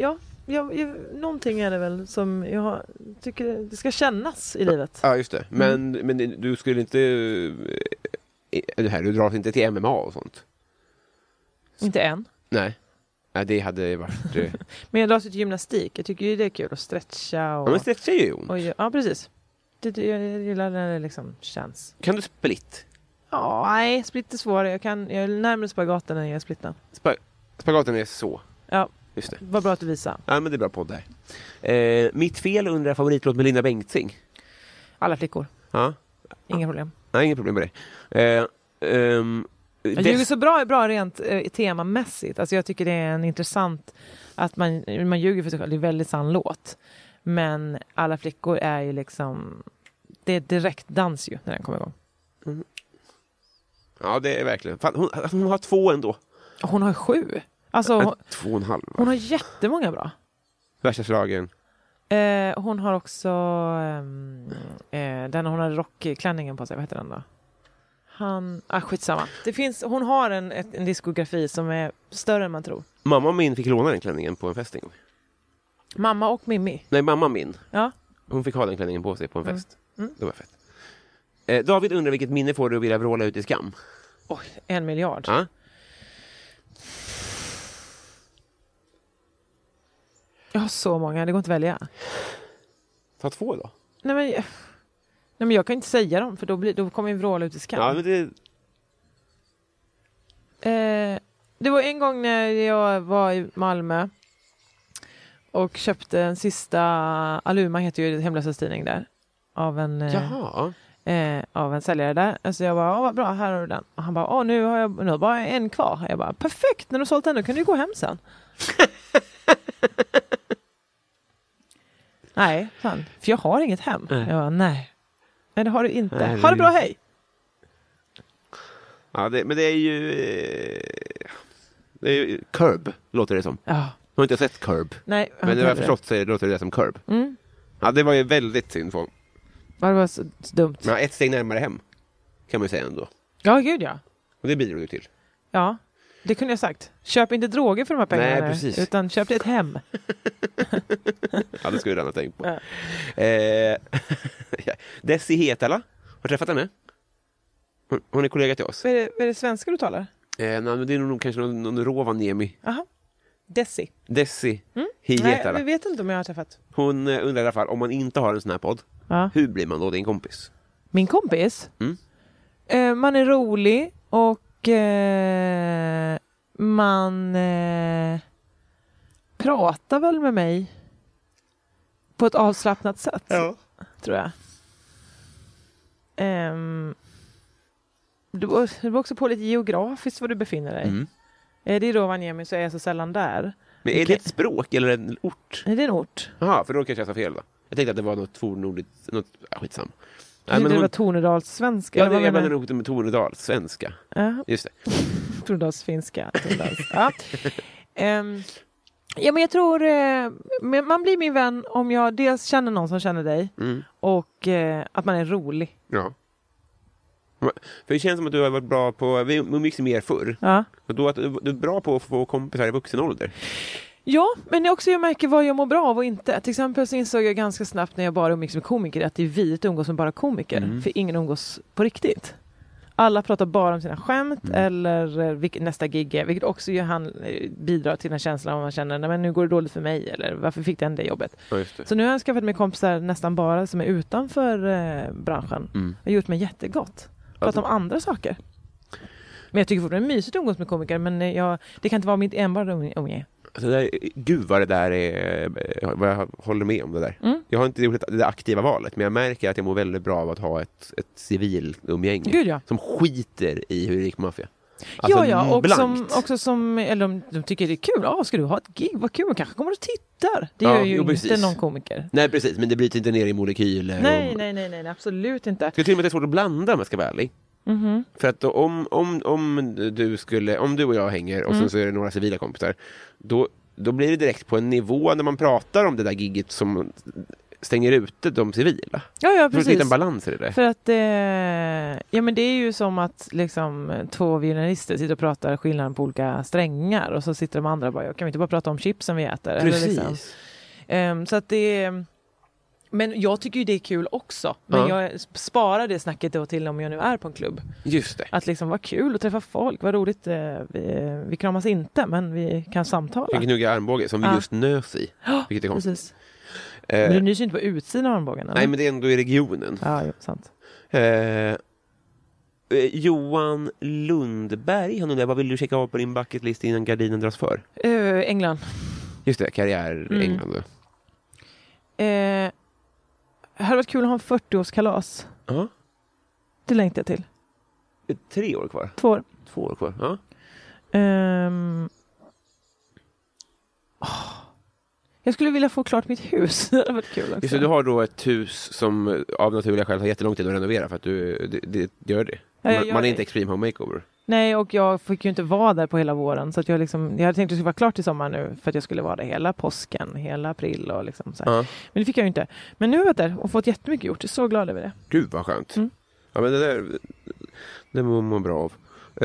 ja, jag, jag, någonting är det väl som jag har- tycker det ska kännas i livet. Ja, just det. Men, men du skulle inte... eh, Det här, du dras inte till MMA och sånt? Inte än. Nej. Nej, det hade varit... eh, Men jag drar till gymnastik. Jag tycker ju det är kul att stretcha Ja, men och... stretchar ju ont. och ja, precis. Det, jag gillar när det liksom känns. Kan du split? Ja, nej, split är svårare. Jag, kan, jag är närmare spagaten än jag är splitten. Spa- spagaten är så. Ja, Just det. vad bra att du visar. Ja, men det är bra podd där. Eh, mitt fel undrar favoritlåt med Linda Bengtzing. Alla flickor, Ja, inga problem. nej, inget problem med det. Eh, ehm, Jag dess- ljuger så bra är bra rent eh, temamässigt. Alltså jag tycker det är en intressant... Att man, man ljuger för sig själv, det är en väldigt sann låt. Men Alla flickor är ju liksom... Det är direkt dans ju när den kommer igång. Ja, det är verkligen. Fan, hon, alltså, hon har två ändå. Och Hon har sju. Alltså, hon, Två och en halv. hon har jättemånga bra. Värsta slagen. Eh, hon har också ehm, eh, den hon har rockklänningen på sig, vad heter den då? Han, ah, skitsamma. Det finns, hon har en, ett, en diskografi som är större än man tror. Mamma min fick låna den klänningen på en fest en gång. Mamma och Mimmi. Nej, mamma min. Ja. Hon fick ha den klänningen på sig på en Mm. fest. Mm. Det var fett. Eh, David undrar vilket minne får du att vilja vråla ut i skam? Oj, en miljard. Ja. Jag har så många, det går inte att välja. Ta två då. Nej men, nej, men jag kan inte säga dem för då, blir, då kommer ju vråla ut i skam. Ja, men det... Eh, det var en gång när jag var i Malmö och köpte en sista, Aluma heter ju Hemlösas tidning där, av en, eh, Jaha. eh, av en säljare där. Alltså jag bara, åh vad bra, här har du den. Och han bara, åh nu har jag nu har jag bara en kvar. Jag bara, perfekt, när du har sålt den då kan du ju gå hem sen. nej, sa han, för jag har inget hem. Nej. Jag bara, nej. Nej det har du inte. Nej, ha det bra, det- hej! Ja, det, men det är ju... Eh, det är ju Curb, låter det som. Ja, Jag har inte sett Curb. nej. jag har Men inte vad jag heller det. förstått så är- låter det som Curb. Mm. Ja, det var ju väldigt synd på honom. Ja, Det var så så dumt. Men ett steg närmare hem, kan man ju säga ändå. Ja, gud ja. Och det bidrog du till. Ja, det kunde jag sagt. Köp inte droger för de här pengarna. Nej, precis. Utan köp dig ett hem. Ja, det skulle du redan ha tänkt på. Ja. Eh, Desi Hetala, har du träffat henne? Hon, hon är kollega till oss. Vad är, det, vad är det svenska du talar? Eh, nej, men det är nog kanske någon, någon Rovaniemi. Aha. Desi. Desi Mm. Nej, Hietala. vi vet inte om jag har träffat. Hon eh, undrar i alla fall, om man inte har en sån här podd, Ja. hur blir man då din kompis? Min kompis? Mm. Eh, man är rolig och eh, man eh, pratar väl med mig på ett avslappnat sätt, tror jag. Ehm, det beror det beror också på lite geografiskt var du befinner dig. Mm. Är det i Rovaniemi så är jag så sällan där. Men är det Okej. ett språk eller en ort? Är det en ort? Jaha, för då kanske jag sa fel då. Jag tänkte att det var något fornordiskt, något, ja, skitsamma. Jag trodde men det hon- var Tornedalssvenska. Ja, eller det, vad jag menar blandar ihop det med Tornedal, svenska. du? Ja. Just det. Tornedalsfinska. Tornedals. Ja. Ehm, ja, men jag tror eh, men man blir min vän om jag dels känner någon som känner dig Mm. och eh, att man är rolig. Ja. För det känns som att du har varit bra på, vi umgicks ju mer förr, Ja. och då att du du är bra på att få kompisar i vuxen ålder. ja, men det är också jag märker vad jag mår bra av och inte. Till exempel så insåg jag ganska snabbt när jag bara umgicks med komiker att det är vidrigt att umgås med bara komiker. För ingen umgås på riktigt. Alla pratar bara om sina skämt eller eh, vilk- nästa gig är, vilket också gör han, eh, bidrar till den här känslan om man känner "Nej, men nu går det dåligt för mig eller varför fick den det jobbet? Ja, just det. Så nu har jag skaffat mig kompisar nästan bara som är utanför eh, branschen. Mm. Det har gjort mig jättegott. Pratat om andra saker. Men jag tycker fortfarande det är mysigt att umgås med komiker men eh, jag, det kan inte vara mitt enbart umg- umgänge. Så där, gud vad det där är, eh, vad jag håller med om det där. Mm. Jag har inte gjort det där aktiva valet, men jag märker att jag mår väldigt bra av att ha ett, ett civilumgänge. Gud ja. Som skiter i hur det gick med maffia. ja, ja. Och Alltså, blankt. som, också som, eller de, de tycker det är kul. Ja, ska du ha ett gig? Vad kul, kanske kommer och tittar. Det Ja, gör ju jo, inte precis. någon komiker. Nej, precis, men det bryter inte ner i molekyler. Nej, och... nej, nej, nej, nej, absolut inte. Jag tycker till och med att det är svårt att blanda om jag ska vara ärlig. Mm-hmm. För att då, om, om, om, du skulle, om du och jag hänger och Mm. sen så är det några civila kompisar, då, då blir det direkt på en nivå när man pratar om det där gigget som stänger ute de civila. För Ja, ja, att hitta precis. en balans i det där. För att eh, ja, men det är ju som att liksom, två violinister sitter och pratar skillnaden på olika strängar och så sitter de andra och bara, "Ja, kan vi inte bara prata om chipsen vi äter? Eller Precis. liksom. Ehm, så att det är, men jag tycker ju det är kul också. Men Ja. jag sparar det snacket då till om jag nu är på en klubb. Just det. Att liksom, vad kul att träffa folk, vad roligt. eh, Vi, vi kramas inte, men vi kan En samtala. gnugga armbåge som vi Ja. just nös i. Vilket är konstigt. Precis. Eh, Men du nyser ju inte på utsidan av armbågen? eller? nej, men det är ändå i regionen. Ja, jo, sant. Eh, eh, Johan Lundberg, han undrar vad vill du checka av på din bucketlist innan gardinen dras för? Eh, England. Just det, karriär Mm. England. då. Eh, hade varit kul att ha en 40-årskalas. Ja. Det längtar jag till. Eh, Tre år kvar. Två år. Två år kvar. Ja. Ehm. Åh. Jag skulle vilja få klart mitt hus. Det hade varit kul också. Just det, du har då ett hus som eh, av naturliga skäl tar jättelång tid att renovera för att du det, det, gör det. Ja, jag Man, gör man är det. inte extreme home makeover. Nej, och jag fick ju inte vara där på hela våren. Så att jag, liksom, jag hade tänkt att det skulle vara klart till sommar nu för att jag skulle vara där hela påsken, hela april och liksom så här. Ja. Men det fick jag ju inte. Men nu har jag varit där och fått jättemycket gjort. Jag är så glad över det. Gud vad skönt. Mm. Ja, men det där det mår man bra av.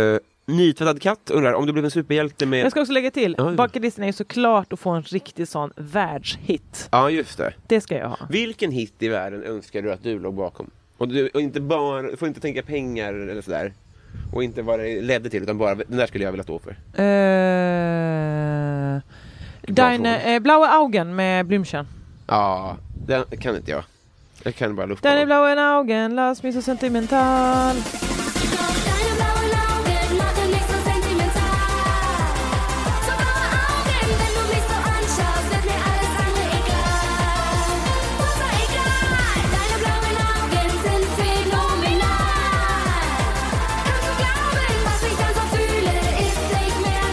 Uh, nytvättad katt undrar om du blev en superhjälte med... Jag ska också lägga till, Ja, ja. bucketlisten är ju såklart att få en riktig sån världshit. Ja, just det. Det ska jag ha. Vilken hit i världen önskar du att du låg bakom? Och du och inte bara, får inte tänka pengar eller sådär. Och inte vad det ledde till, utan bara den där skulle jag vilja stå för. Uh, deine, fråga. eh, Blaue Augen med Blümchen. Ja, den kan inte jag. Jag kan bara lufta Deine dem. blauen Augen, lass mich so sentimental. Deine blauen Augen machen mich so sentimental. So blaue Augen, wenn du mich so anschaust, wird mir alles andere egal. Super egal. Deine blauen Augen sind phänomenal. Kannst du glauben, was ich dann so fühle, ist nicht mehr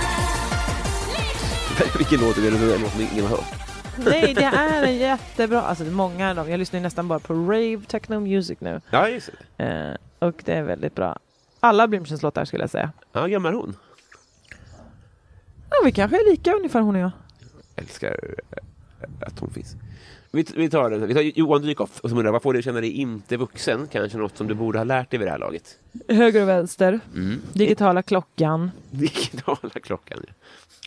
normal. Nicht Vilken låt är det? Det är en låt som ingen har hört. Nej, det är en jättebra. Alltså det är många av dem. Jag lyssnar ju nästan bara på rave techno music nu. Ja, just det. Eh, och det är väldigt bra. Alla Blümchens låtar skulle jag säga. Ja, gammal hon. Ja, vi kanske är lika ungefär hon och jag. Älskar eh, att hon finns. Vi, vi tar den. Vi tar Johan Dykhoff som undrar, vad får du att känna dig inte vuxen? Kanske något som du borde ha lärt dig vid det här laget? Höger och vänster, digitala klockan. Digitala klockan.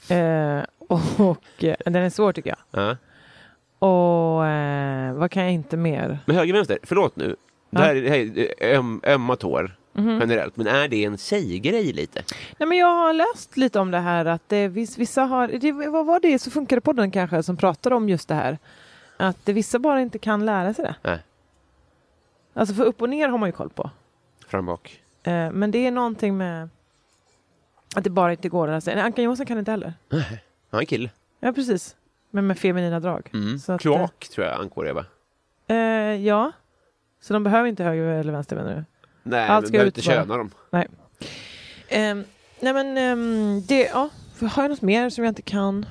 ja. Eh, och eh, den är svår tycker jag. Ja. Och eh, vad kan jag inte mer? Men höger vänster, förlåt nu. Det Ja. Mhm. här, är- det här är öm, ömma tår generellt, men är det en tjejgrej lite? Nej, men jag har läst lite om det här att det, viss- vissa har, det, vad var det, så funkar det podden kanske som pratar om just det här. Att det, vissa bara inte kan lära sig det. Nej, Alltså för upp och ner har man ju koll på. fram bak. Eh, men det är någonting med att det bara inte går att lära sig. Nej, Ankan Johansson kan inte heller. Han är en kille. Mm. Ja, precis. Men med feminina drag. Så att, eh, Kloak tror jag ankor är va? Eh, ja. Så de behöver inte höger eller vänster menar du? Nej, Allt men ska behöver ut inte bara. köna dem. Ehm, nej men ehm, det, ja. Har jag något mer som jag inte kan?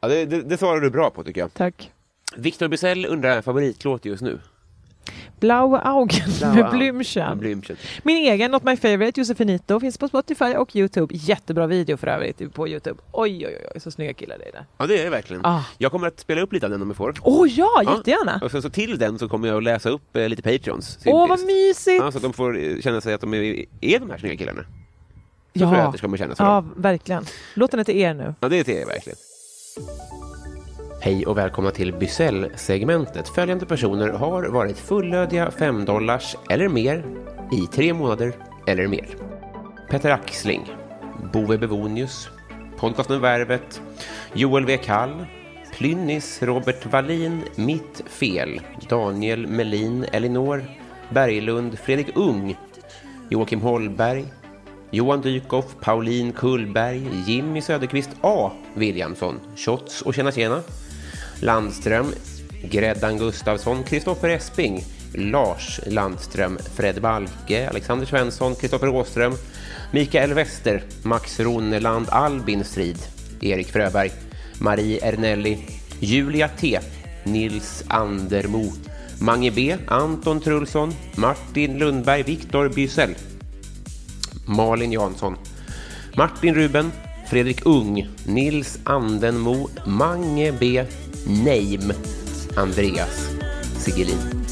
Ja, det, det, det svarar du bra på tycker jag. Tack. Victor Bissell undrar favoritlåt just nu. Blaue Augen med Med Blümchen. Blümchen. Min egen, Not My Favorite, Josefinito, finns på Spotify och Youtube. Jättebra video för övrigt på Youtube. Oj, oj, oj, så snygga killar det är där. Ja, det är det verkligen. Ah. Jag kommer att spela upp lite av den om jag får. Åh oh, ja, Ja. jättegärna! Och sen så till den så kommer jag att läsa upp eh, lite Patreons. Åh, vad mysigt! Ja, så att de får eh, känna sig att de är, är de här snygga killarna. Så Ja. tror jag att det kommer kännas för Ja, dem. verkligen. Låten är till er nu. Ja, det ser jag verkligen. Hej och välkomna till Bysell-segmentet. Följande personer har varit fullödiga 5 dollars eller mer i tre månader eller mer. Peter Axling, Bove Bevonius, podcasten Värvet, Joel W. Kall, Plynnis, Robert Wallin, Mitt Fel, Daniel Melin, Elinor, Berglund, Fredrik Ung, Joakim Holberg, Johan Dykhoff, Pauline Kullberg, Jimmy Söderqvist A. Williamson, Shots och Tjena Tjena, Landström, Gräddan Gustafsson, Kristoffer Esping, Lars Landström, Fred Balke, Alexander Svensson, Kristoffer Åström, Mikael Wester, Max Roneland, Albin Strid, Erik Fröberg, Marie Ernelli, Julia T, Nils Andermo, Mange B, Anton Trulsson, Martin Lundberg, Viktor Bysell, Malin Jansson, Martin Ruben, Fredrik Ung, Nils Andenmo, Mange B, Neim, Andreas Sigelin.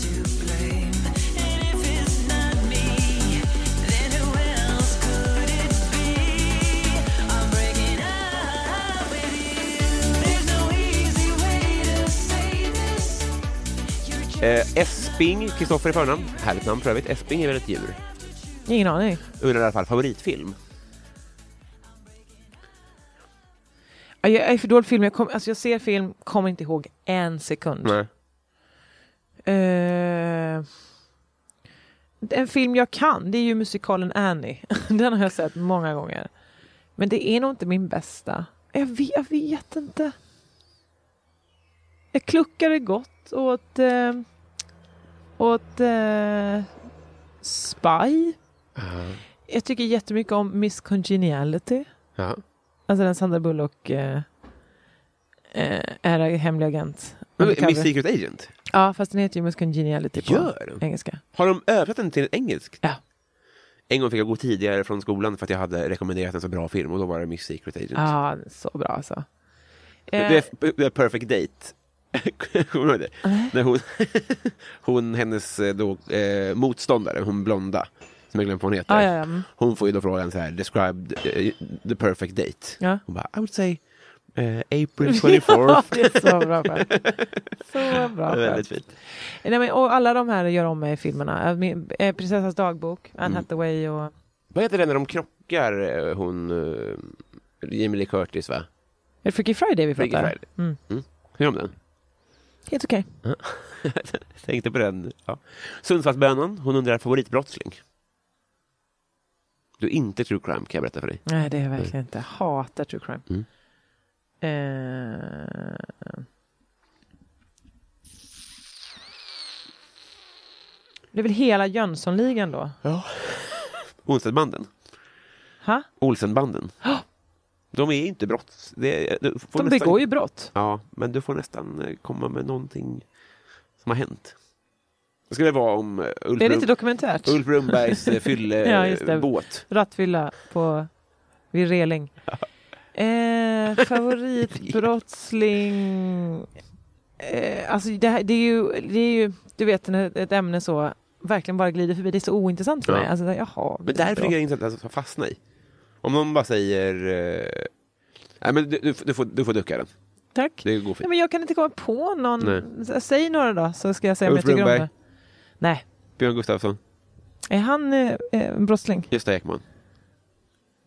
Eh, Esping, Kristoffer i förnamn. Härligt namn för övrigt. Esping är väl ett djur? Ingen aning. Undrar i alla fall favoritfilm. Ja, Jag är för dålig på film. Jag, kom, alltså jag ser film, kommer inte ihåg en sekund. Nej. Eh, en film jag kan, det är ju musikalen Annie. Den har jag sett många gånger. Men det är nog inte min bästa. Jag vet, jag vet inte. Jag kluckade gott åt, eh, åt eh, Spy. Eh, Jag tycker jättemycket om Miss Congeniality. Ja. Alltså den Sandra Bullock eh, eh, är hemlig agent. Men, Undercover. Miss Secret Agent? Ja, fast den heter ju Miss Congeniality på Gör den? engelska. Har de översatt den till engelsk? Ja. En gång fick jag gå tidigare från skolan för att jag hade rekommenderat en så bra film och då var det Miss Secret Agent. Ja, så bra alltså. Eh, Det, är, det är Perfect Date. Kommer du ihåg det? När hon, hon, hennes eh, då, eh, motståndare, hon blonda, som jag glömde vad hon heter. Ja, ja, ja. Mm. Hon får ju då frågan så här, describe eh, the perfect date. Ja. Hon bara, I would say eh, April 24th. det är så bra skämt. Så Det är bra skämt. Väldigt fint. Nej, men, och alla de här gör om mig i filmerna. Eh, min- eh, Prinsessans dagbok, Anne Mm. Hathaway och... Vad heter det när de krockar, eh, hon, eh, Jamie Lee Curtis va? Är det Freaky Friday vi pratar? Freaky Friday. Mm. Mm. Hur är det om den? Helt okej. Jag tänkte på den. Ja. Sundsvallsbönan, hon undrar favoritbrottsling. Du är inte true crime kan jag berätta för dig. Nej, det är jag verkligen inte. Hatar true crime. Mm. Eh... Det är väl hela Jönssonligan då? Olsenbanden. Ha? Olsenbanden. De är inte brotts... Det, du får De nästan- begår ju brott. Ja, men du får nästan eh, komma med någonting som har hänt. Det skulle vara om eh, Ulf, Är det inte Brun- dokumentärt? Ulf Brunnbergs eh, fylle Ja, just det. eh, båt. Rattfylla på, vid Reling. Eh, favoritbrottsling... Eh, alltså det, här, det, är ju, det är ju, du vet när ett ämne så verkligen bara glider förbi, det är så ointressant för Ja. mig. Alltså, jaha, Men därför bra. tycker jag inte att det ska fastna i. Om någon bara säger... Eh, nej, men du, du, du, får, du får ducka den. Tack. Det går fint. Nej, men jag kan inte komma på någon. Nej. S- Säg några då så ska jag säga om Ulf jag tycker om Brunnberg. det. Nej, Björn Gustafsson, är han eh, en brottsling? Gösta Ekman.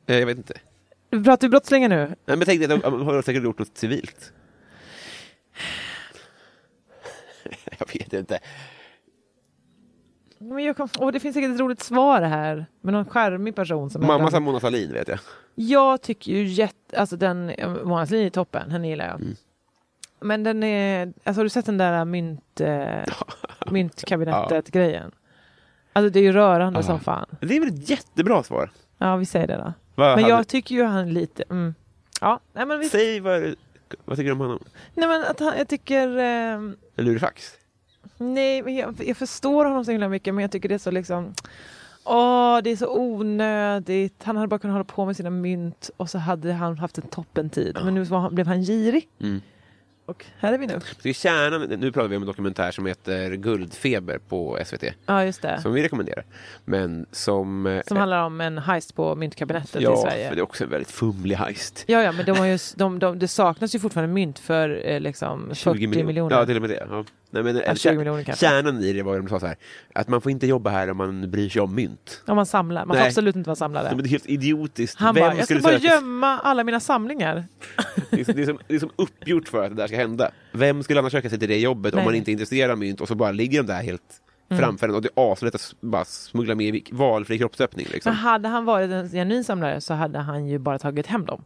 Eh, jag vet inte. Pratar vi brottslingar nu? Nej, men tänk dig att de har säkert gjort något civilt. Jag vet inte. Men jag kom, åh, det finns säkert ett roligt svar här med någon charmig person. Som Mamma sa Mona Sahlin, vet jag. Jag tycker ju jätte... Alltså den... Månads linje är toppen, henne gillar jag. Men den är... Alltså har du sett den där mynt... Eh, myntkabinettet-grejen? Alltså det är ju rörande som fan. Det är väl ett jättebra svar? Ja, vi säger det då. Vad Men hade- jag tycker ju han lite... Mm. Ja, nej men vi... Säg vad du... Vad tycker du om honom? Nej men att han, jag tycker... ehm, En lurifax? Nej, men jag, jag förstår honom så himla mycket men jag tycker det är så liksom Åh, det är så onödigt. Han hade bara kunnat hålla på med sina mynt och så hade han haft en toppentid. Men nu var han, blev han girig. Mm. Och här är vi nu. Så i kärnan, nu pratar vi om en dokumentär som heter Guldfeber på SVT, Ja, just det. som vi rekommenderar. Men som... eh, Som handlar om en heist på myntkabinettet i ja, Sverige. för det är också en väldigt fumlig heist. Ja, ja, men de har ju, de, de, det saknas ju fortfarande mynt för eh, liksom 40 miljoner. Ja, till och med det. Ja. Nej, men, eh, 20 kär- miljoner kanske. Kärnan i det var ju de sa så här, att man får inte jobba här om man bryr sig om mynt. Om man samlar. Man får Nej. absolut inte vara samlare. Nej, men Det är helt idiotiskt. han Vem bara, jag ska skulle bara säga att- gömma alla mina samlingar. Det är, som- det, är som, det är som uppgjort för att det där ska hända. Vem skulle annars söka sig till det jobbet Nej. Mm. om man inte är intresserad av mynt och så bara ligger de där helt framför en och det är aslätt att s- bara smuggla med i valfri kroppsöppning. Liksom. Men hade han varit en genuin samlare så hade han ju bara tagit hem dem.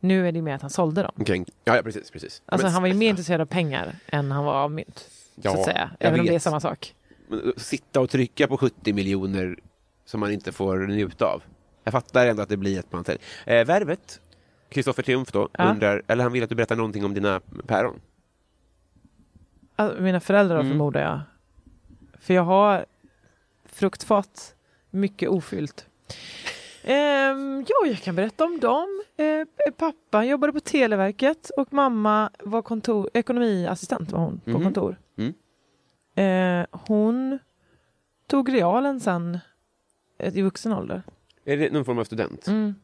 Nu är det ju mer att han sålde dem. Okej. Ja, ja, precis. precis. Alltså Men- han var ju mer intresserad av pengar än han var av mynt. Ja, så att säga. jag Även om det är vet. samma sak. men eh, Sitta och trycka på 70 miljoner som man inte får njuta av. Jag fattar ändå att det blir ett man säljer. Eh, Värvet, Kristoffer Triumf då, Ja. undrar, eller han vill att du berättar någonting om dina päron. Alltså, mina föräldrar då förmodar jag. För jag har fruktfat, mycket ofyllt. Ehm, ja, jag kan berätta om dem. Ehm, pappa jobbade på Televerket och mamma var kontor, ekonomiassistent var hon på Mhm. kontor. Mm. Ehm, hon tog realen sen eh, i vuxen ålder. Är det någon form av student? Mm.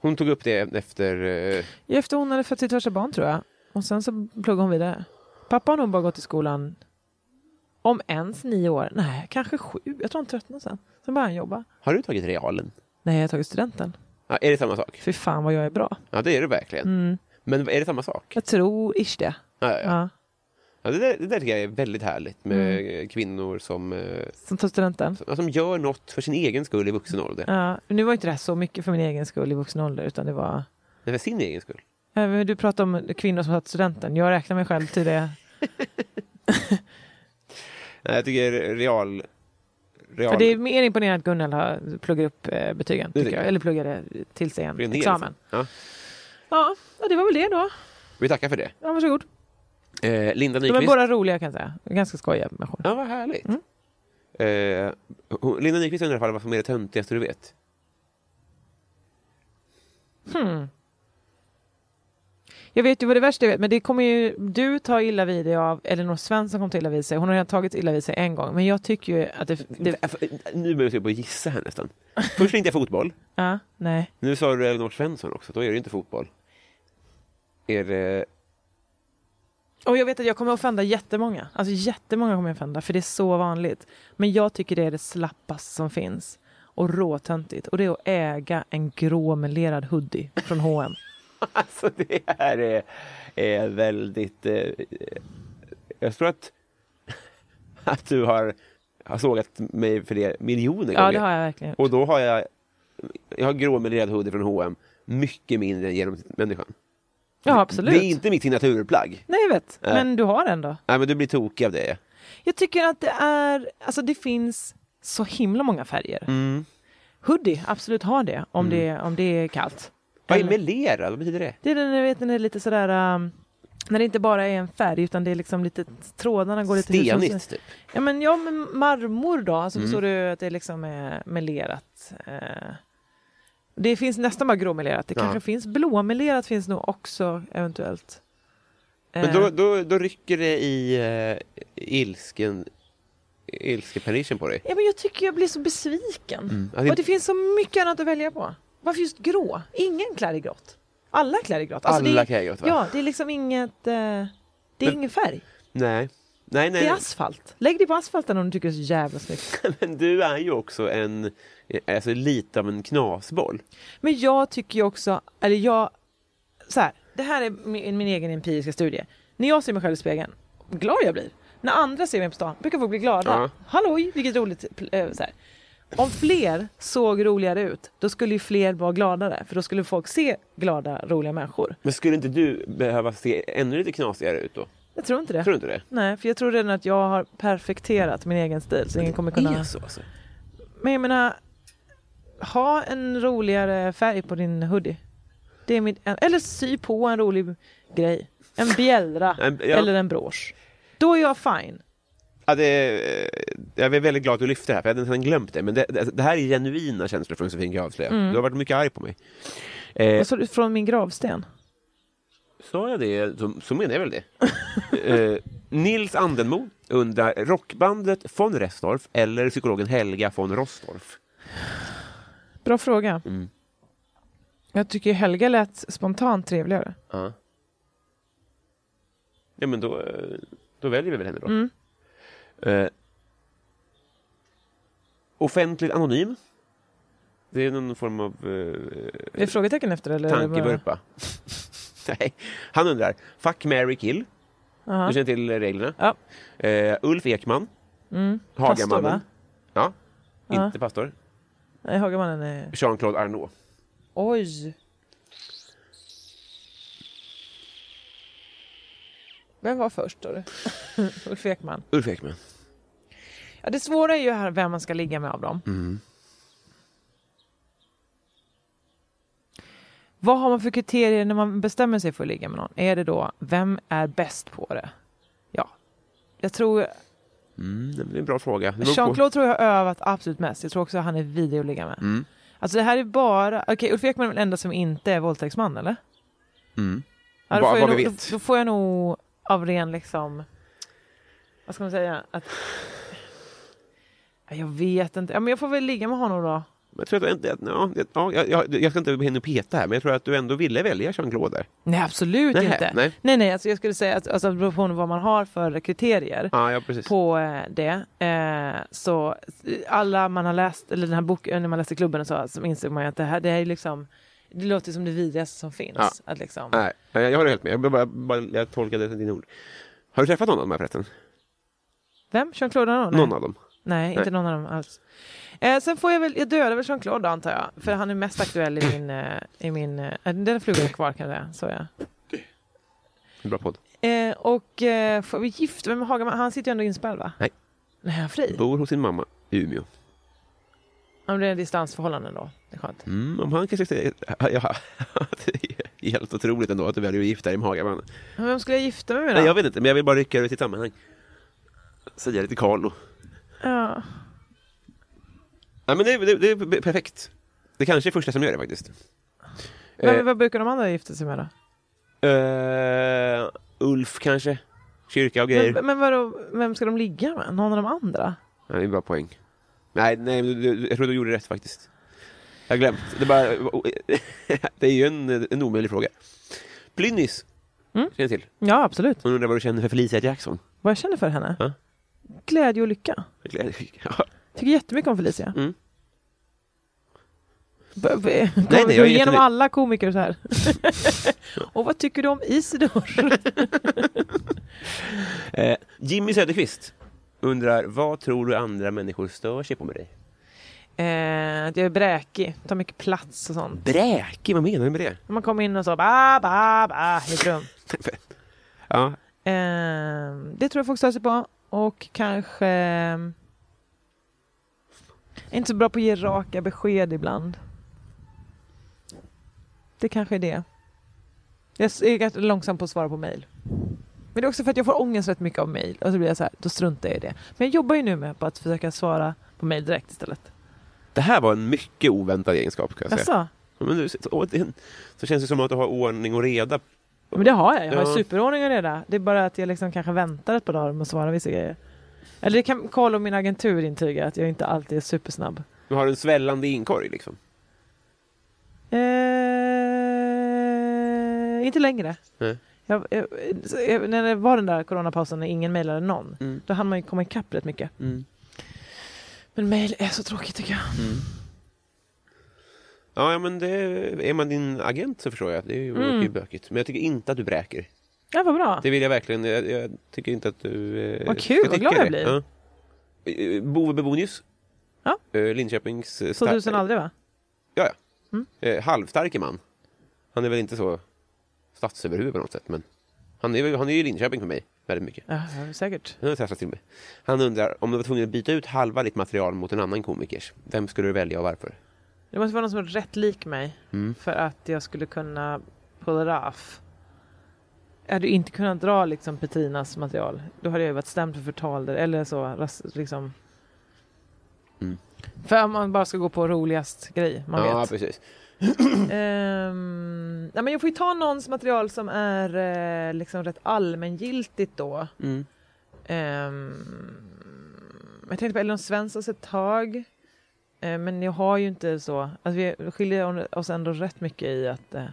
Hon tog upp det efter... Eh, Efter hon hade fött sitt första barn tror jag. Och sen så pluggade hon vidare. Pappa har nog bara gått i skolan om ens nio år. Nej, kanske sju. Jag tror han tröttnade sen. Sen började han jobba. har du tagit realen? Nej, jag har tagit studenten. Ja, är det samma sak? Fy fan vad jag är bra. Ja, det är det Mm. verkligen. Men är det samma sak? Jag tror ish det. Ja, ja, ja. Ja. Ja, det, där, det där tycker jag är väldigt härligt med Mm. eh, kvinnor som, eh, Som tar studenten. som, som gör något för sin egen skull i vuxen ålder. Ja. Nu var inte det här så mycket för min egen skull i vuxen ålder. Utan det var... Nej, för sin egen skull. Nej, men Du pratar om kvinnor som har tagit studenten. Jag räknar mig själv till det. Nej, jag tycker real... real För det är mer imponerande att Gunnel har pluggat upp eh, betygen. Det Tycker tycker jag. jag. Eller pluggade till sig en det är en del, examen. liksom. Ja, och det var väl det då. Ja, vi tackar för det. Ja, varsågod. Eh, Linda De är Nyqvist. båda roliga kan jag säga. Ganska skojiga människor. Ja, vad härligt. Mm. Eh, hon- Linda Nyqvist undrar i alla fall vad som är det töntigaste du vet. Jag vet ju vad det värsta jag vet, men det kommer ju du ta illa vid dig av. Elinor Svensson kom ta illa vid sig. Hon har redan tagit illa vid sig en gång. Men jag tycker ju att det... det Äh, för- Nu börjar jag på att gissa här nästan. Först tänkte jag fotboll. ja, nej. Nu sa du Elinor Svensson också. Då är det inte fotboll. Är det... Och jag vet att jag kommer offenda jättemånga. Alltså jättemånga kommer jag offenda, för det är så vanligt. Men jag tycker det är det slappaste som finns. Och råtöntigt. Och det är att äga en grå melerad hoodie från H&M. Alltså det här är, är väldigt... Eh, jag tror att, att du har, har sågat mig för det miljoner Ja, gånger. det har jag verkligen. Och då har jag, jag har grå med röd hoodie från H&M mycket mindre än genommänniskan. Ja, absolut. Det är inte mitt signaturplagg. Nej, jag vet. Nej. Men du har den då? Nej, men du blir tokig av det. Jag tycker att det är, alltså det finns så himla många färger. Mm. Hoodie, absolut ha det om, det om det är kallt. Vad är Eller- melera? Vad betyder det? Det är den, jag vet, den är lite sådär, um, när det inte bara är en färg utan det är liksom lite, trådarna går lite Stenigt, typ. Mm. Ja men, ja men marmor då, alltså förstår du att det liksom är melerat. Eh, det finns nästan bara gråmelerat, det Ja. kanske finns blåmelerat finns nog också eventuellt. Men Eh, då, då, då rycker det i uh, ilsken, ilskepernichen på dig. Ja, men jag tycker jag blir så besviken. Ja, det- Mm. Och det finns så mycket annat att välja på. Varför just grå? Ingen klär i grått. Alla klär i grått. Alltså, det Alla är, klär i grått, va? Ja, det är liksom inget... Eh, det är Men- ingen färg. Nej. Nej, nej. Det är alltså- nej. asfalt. Lägg dig på asfalten om du tycker det är så jävla snyggt. Men du är ju också en, alltså lite av en knasboll. Men jag tycker ju också... Eller jag... Så här, det här är min, min egen empiriska studie. När jag ser mig själv i spegeln, glad jag blir. När andra ser mig på stan brukar folk bli glada. Ja. Halloj, vilket roligt. pl- eh, Så här. Om fler såg roligare ut, då skulle ju fler vara gladare. För då skulle folk se glada, roliga människor. Men skulle inte du behöva se ännu lite knasigare ut då? Jag tror inte det. Tror du inte det? Nej, för jag tror redan att jag har perfekterat min egen stil. Så ingen kommer kunna... Det är så alltså. Men jag menar, ha en roligare färg på din hoodie. Det är mitt, en- eller sy på en rolig grej. En bjällra En- ja. eller en brosch. Då är jag fine. Ja, det, eh, jag är väldigt glad att du lyfte det här, för jag hade nästan glömt det. Men det, det, det här är genuina känslor från Josefin, kan jag avslöja. Du har varit mycket arg på mig. Eh, Mm. Vad sa du? Från min gravsten? sa jag det, så, så menar jag väl det. eh, Nils Andenmo undrar, rockbandet von Restorff eller psykologen Helga von Rostorff? Bra fråga. Mm. Jag tycker Helga lät spontant trevligare. Ja. Ja, men då, eh, då väljer vi väl henne då. Mm. Eh, offentligt anonym. Det är någon form av eh, Är det frågetecken efter det, eller? är det bara- Tankevurpa. Nej, han undrar. Fuck, marry, kill. Jaha. Du känner till reglerna. Ja. Mm. Eh, Ulf Ekman. Pastor, Hagamannen. va? ja. Ja. Inte pastor. Nej, Hagamannen är... Jean-Claude Arnault. Oj! Vem var först då? Ulf Ekman. Ulf Ekman. Ja, det svåra är ju här vem man ska ligga med av dem. Vad har man för kriterier när man bestämmer sig för att ligga med någon? Är det då, vem är bäst på det? Ja, jag tror, Mm, det är en bra fråga. Det beror på- Mm. Jean-Claude tror jag har övat absolut mest. Jag tror också att han är vidrig att ligga med. Alltså det här är bara, okej Ulf Ekman är den enda som inte är våldtäktsman eller? Mm. Ja, då, Vad- får jag vad vi nog, då, vet. då får jag nog av ren liksom, vad ska man säga? Att, Ja, jag vet inte, ja, men jag får väl ligga med honom då. Jag, tror att, ja, det- ja, jag, jag, jag ska inte hinna peta här, men jag tror att du ändå ville välja Jean-Claude där. Nej absolut Nej, inte. nej. nej, nej alltså jag skulle säga att alltså, det beror på vad man har för kriterier. Ja, ja precis. på eh, det. Eh, så alla man har läst, eller den här boken, när man läste klubben och så, så insåg man ju att det här det här är liksom, det låter som det vidrigaste som finns. Ja. Att liksom, Nej, jag jag håller helt med. Jag, bara, bara, jag tolkade dina ord. Har du träffat någon av de här förresten? Vem? Jean-Claude Arnault? Nej. Någon av dem? Nej, inte någon av dem alls. Eh, sen får jag väl, jag dödar väl Jean-Claude då, antar jag. För han är mest aktuell Mm. i min, eh, i min, eh, den flugan är kvar kan jag säga. Så ja. Bra podd. Eh, och eh, får vi gifta mig med Hagaman? Han sitter ju ändå inspärrad va? Nej. Nej, han är fri? Bor hos sin mamma i Umeå. Han blir en distansförhållande då. Det är skönt. Mm, om han kanske säger... Ja, det är helt otroligt ändå att du väljer att gifta dig med Hagaman. Men vem skulle jag gifta mig med då? Nej, jag vet inte, men jag vill bara rycka ut i sitt sammanhang. Säga det till Carlo. ja. Nej, men det, det, det är perfekt. Det kanske är första som gör det faktiskt. Vem, Eh, Vad brukar de andra gifta sig med då? eh, Ulf kanske? Kyrka och grejer. Men, men vadå, vem ska de ligga med? Någon av de andra? Nej, det är bara poäng. Nej, nej men du, du, jag tror du gjorde rätt faktiskt. Jag har glömt. Det, är bara, det är ju en, en omöjlig fråga. Plynnis Mm. känner jag till. Ja, absolut. Hon undrar vad du känner för Felicia Jackson. Vad jag känner för henne? Ja. Glädje och lycka. Ja. Tycker jättemycket om Felicia. Mm. B- b- nej, Går jag är igenom jättenöjd. alla komiker så här. och vad tycker du om Isidor? Eh, Jimmy Söderqvist undrar vad tror du andra människor stör sig på med dig? eh, att jag är bräkig, tar mycket plats och sånt. Bräkig, vad menar du med det? När man kommer in och så ba, ba, ba i ett rum. ja, Ehm, det tror jag folk stör sig på. Och kanske... ehm, är inte så bra på att ge raka besked ibland. Det kanske är det. Jag s- är ganska långsam på att svara på mejl. Men det är också för att jag får ångest rätt mycket av mejl. Och så blir jag så här, då struntar jag i det. Men jag jobbar ju nu med på att försöka svara på mejl direkt istället. det här var en mycket oväntad egenskap kan jag säga. Jaså? Men du, så, åh, det- så känns det som att du har ordning och reda. Men det har jag. Jag har Ja. superordning och reda. Det är bara att jag liksom kanske väntar ett par dagar med att svara vissa grejer. Eller det kan Karl och min agentur intyga att jag inte alltid är supersnabb. Du har en svällande inkorg liksom. Eh, inte längre. Nej. Jag, jag, så jag, när det var den där coronapausen när ingen mejlade någon, Mm. då hann man ju komma ikapp rätt mycket. Mm. Men mejl är så tråkigt tycker jag. Ja, ja, men det, är man din agent så förstår jag att det är ju det är ju bökigt. Men jag tycker inte att du bräker. Ja, vad bra. Det vill jag verkligen. Jag, jag tycker inte att du... Eh, Vad kul, ska vad tycka glad jag det. blir. Ja. Eh, Bove Bebonius. Ja. Eh, Linköpings... eh, Så star- du sen aldrig va? Ja, ja. Mm. Eh, halvstarke man. Han är väl inte så statsöverhuvud på något sätt, men han är, väl- han är ju i Linköping för mig väldigt mycket. Ja, säkert. Han har testat till mig. Han undrar om du var tvungen att byta ut halva ditt material mot en annan komikers. Vem skulle du välja och varför? Det måste vara någon som är rätt lik mig för att jag skulle kunna pull it off. Jag hade ju inte kunnat dra liksom Petinas material. Då hade jag ju varit stämd för förtal där, eller så. ras- Liksom. För om man bara ska gå på roligast grej man ja, vet. precis. Ehm, nej men jag får ju ta någons material som är eh, liksom rätt allmängiltigt då. Mm. Ehm, jag tänkte på Elon Svenssons ett tag. Eh, men jag har ju inte så... Alltså vi skiljer oss ändå rätt mycket i att... Eh,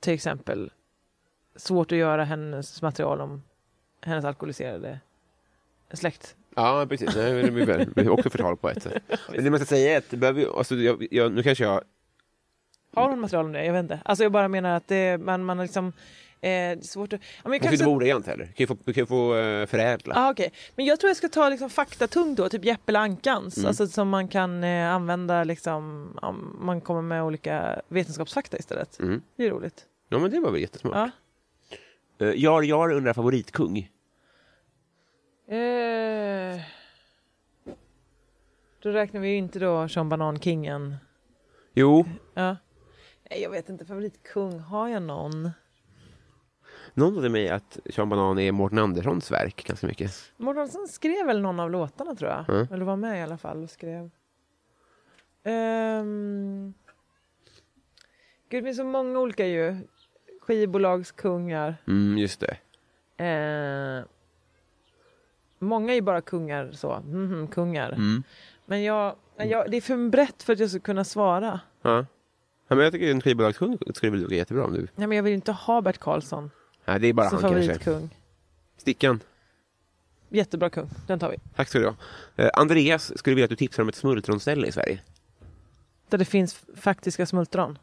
till exempel svårt att göra hennes material om hennes alkoholiserade släkt. Ja, precis. Nej, det blir väl- det blir också förtal på ett sätt. Men det man ska säga är att det behöver, ju- alltså, jag, jag, nu kanske jag... Har hon material om det? Jag vet inte. Alltså jag bara menar att det, man, man har liksom... Eh, det är svårt att... Ja, men jag Man får kanske... inte vara ordagrant heller. Du kan ju få, du kan ju få eh, förädla. Ah, okej. Men jag tror jag ska ta liksom faktatung då, typ Jeppe Lankans. Alltså som man kan eh, använda liksom, om man kommer med olika vetenskapsfakta istället. Mm. Det är roligt. Ja, men det var väl jättesmart. Ja. Eh, Jar Jar undrar favoritkung. Eh, då räknar vi ju inte då Sean Banan-kingen. Jo, Ja. Nej, jag vet inte, favoritkung, har jag någon? någon sa till mig att Sean Banan är Mårten Anderssons verk ganska mycket. Mårtensson skrev väl någon av låtarna tror jag. Mm. Eller var med i alla fall och skrev. Ehm... Gud, det finns så många olika ju. Skivbolagskungar. Mm, just det. Eh... Många är ju bara kungar så. Mhm, kungar. Mm. Men jag, nej, jag, det är för brett för att jag ska kunna svara. Ja. ja men jag tycker en skivbolagskung skulle väl duga jättebra om du... Nej, men jag vill ju inte ha Bert Karlsson Nej, det är bara som han kanske. favoritkung. Stickan. Jättebra kung, den tar vi. Tack ska du ha. Eh, Andreas skulle vilja att du tipsar om ett smultronställe i Sverige. Där det finns faktiska smultron.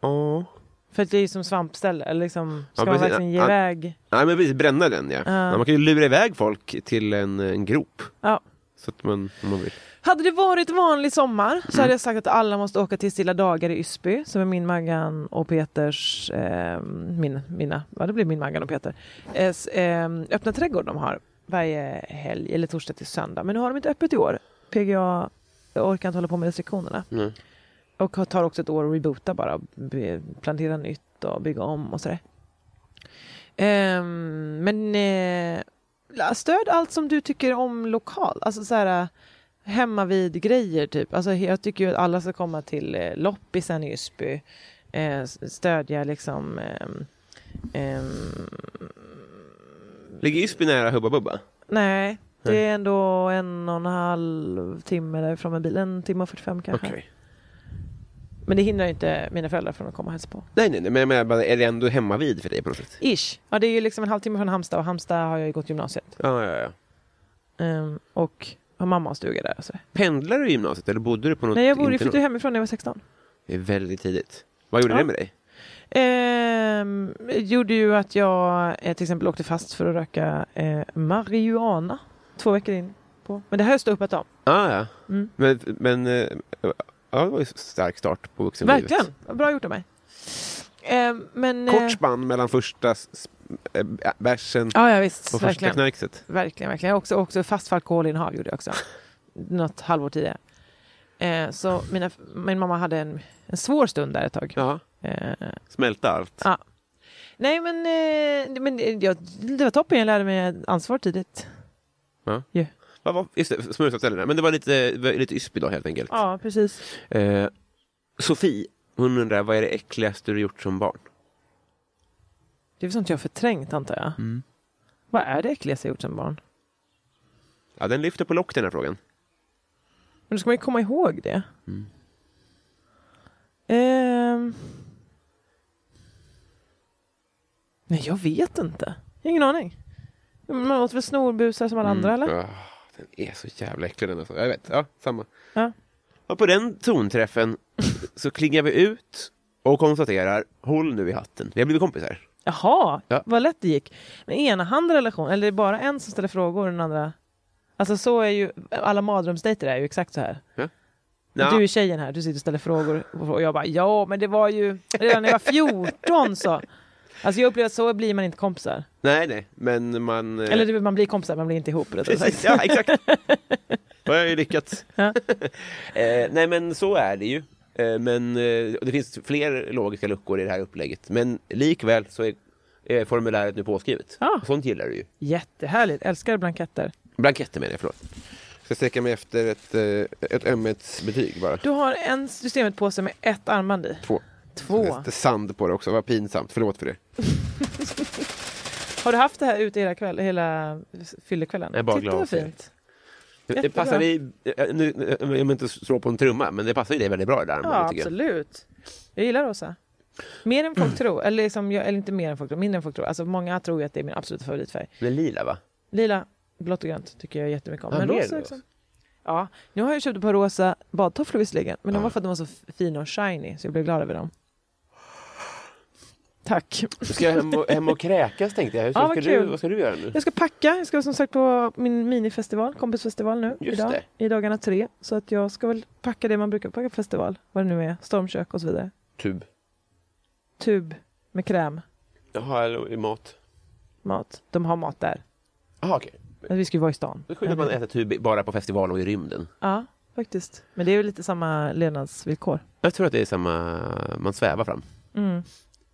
Ja. För att det är ju som svampställe. Eller liksom, ska man precis. verkligen ge Ja. iväg? Nej, men precis. Bränna den, ja. Ja. ja. Man kan ju lura iväg folk till en, en grop. Ja. Så att man, om man vill. Hade det varit vanlig sommar så hade jag sagt att alla måste åka till Stilla dagar i Ysby som är min Maggan och Peters, eh, min, mina, ja det blir min Maggan och Peter, eh, s- eh, öppna trädgård de har varje helg eller torsdag till söndag. Men nu har de inte öppet i år. PGA orkar inte hålla på med restriktionerna. Mm. Och tar också ett år att reboota bara, och be- plantera nytt och bygga om och sådär. Ehm, men eh, la- stöd allt som du tycker om lokal, alltså så här hemma vid grejer typ. Alltså jag tycker ju att alla ska komma till eh, loppisen i Ysby, eh, s- stödja liksom ehm, ehm, Ligger Ysby nära Hubba Bubba? Nej, det är ändå en och en halv timme därifrån med bil. En timme och 45 kanske. Okej. Men det hindrar ju inte mina föräldrar från att komma och hälsa på. Nej, nej, nej, men jag menar bara, är det ändå hemma vid för dig på något sätt? Ish. Ja, det är ju liksom en halvtimme från Halmstad och Halmstad har jag ju gått gymnasiet. Ja, ja, ja. Ehm, och har mamma och stuga där. och sådär. Pendlade du i gymnasiet eller bodde du på något Nej, jag bor ju internat? flyttade hemifrån när jag var 16. Det är väldigt tidigt. Vad gjorde Ja. det med dig? Ehm, gjorde ju att jag eh, till exempel åkte fast för att röka eh, marijuana två veckor in på. Men det här har jag ståuppat om. Ah, ja, Mm. men, men eh, ja, det var ju en stark start på vuxenlivet. Verkligen! Vad Bra gjort av mig. Ehm, men, eh, Kort spann mellan första s- äh, bärsen Ja, ja visst. och första verkligen. knarkset. Verkligen, verkligen. Jag också, också fast för alkoholinnehav gjorde jag också. Något halvår tidigare. Eh, så mina, min mamma hade en, en svår stund där ett tag. Ja, Eh, smälta allt. Ja. nej men, eh, det- men det- jag, det var toppen, jag lärde mig ansvar tidigt. Vad var, just det, smörgåsställena. Men det var lite, det var lite Ysby då helt enkelt. Ja, precis. Eh, Sofie, hon undrar vad är det äckligaste du gjort som barn? Det är väl sånt jag har förträngt antar jag. Vad är det äckligaste jag gjort som barn? Ja, den lyfter på lock den här frågan. Men då ska man ju komma ihåg det. Ehm. Nej, jag vet inte. Jag har ingen aning. Man åt väl snorbusar som alla andra, eller? Ah, den är så jävla äcklig den alltså. Jag vet, ja, samma. Ja. Och på den tonträffen så klingar vi ut och konstaterar, håll nu i hatten. Vi har blivit kompisar. Jaha, Ja. vad lätt det gick. Men enahanda relation, eller är det bara en som ställer frågor och den andra... Alltså så är ju, alla madrumsdejter är ju exakt så här. Ja. Du är tjejen här, du sitter och ställer frågor. Och jag bara, ja men det var ju redan när jag var 14 så. Alltså jag upplever att så blir man inte kompisar. Nej, nej, men man... eh, Eller det- man blir kompisar, man blir inte ihop rättare sagt. Precis, ja, exakt. Då har jag ju lyckats. Ja. Eh, nej, men så är det ju. Eh, men eh, och det finns fler logiska luckor i det här upplägget. Men likväl så är, är formuläret nu påskrivet. Ah. Sånt gillar du ju. Jättehärligt, älskar blanketter. Blanketter menar jag, förlåt. Ska sträcka mig efter ett, eh, ett ömhetsbetyg bara. Du har en systemet påse med ett armband i. Två. Två. Lite sand på det också, vad pinsamt. Förlåt för det. Har du haft det här ute hela, kväll, hela fyllekvällen? Jag är bara Titta glad vad för det. fint. Det Jättebra. passar i, eh, nu, eh, jag vill inte slå på en trumma, men det passar ju dig väldigt bra det där. Ja, tycker jag. absolut. Jag gillar rosa. Mer än folk tror, eller, liksom, jag, eller inte mer än folk tror, mindre än folk tror. Alltså många tror ju att det är min absoluta favoritfärg. Det är lila va? Lila, blått och grönt tycker jag jättemycket om. Ja, men mer rosa än också. rosa. Ja, nu har jag köpt ett par rosa badtofflor visserligen, men de Ja. var för att de var så f- fina och shiny, så jag blev glad över dem. Tack. Ska jag hem och, hem och kräkas tänkte jag. Hur, Ja, vad, vad ska kul. du, vad ska du göra nu? Jag ska packa, jag ska som sagt på min minifestival, kompisfestival nu Just idag, det. i dagarna tre. Så att jag ska väl packa det man brukar packa på festival, vad det nu är, stormkök och så vidare. Tub. Tub med kräm, Jaha, eller i mat. mat. De har mat där. Jaha, okej. Vi ska ju vara i stan. Det är sjukt att man äter tub bara på festival och i rymden. Ja, faktiskt. Men det är ju lite samma levnadsvillkor. Jag tror att det är samma, man svävar fram. Mm.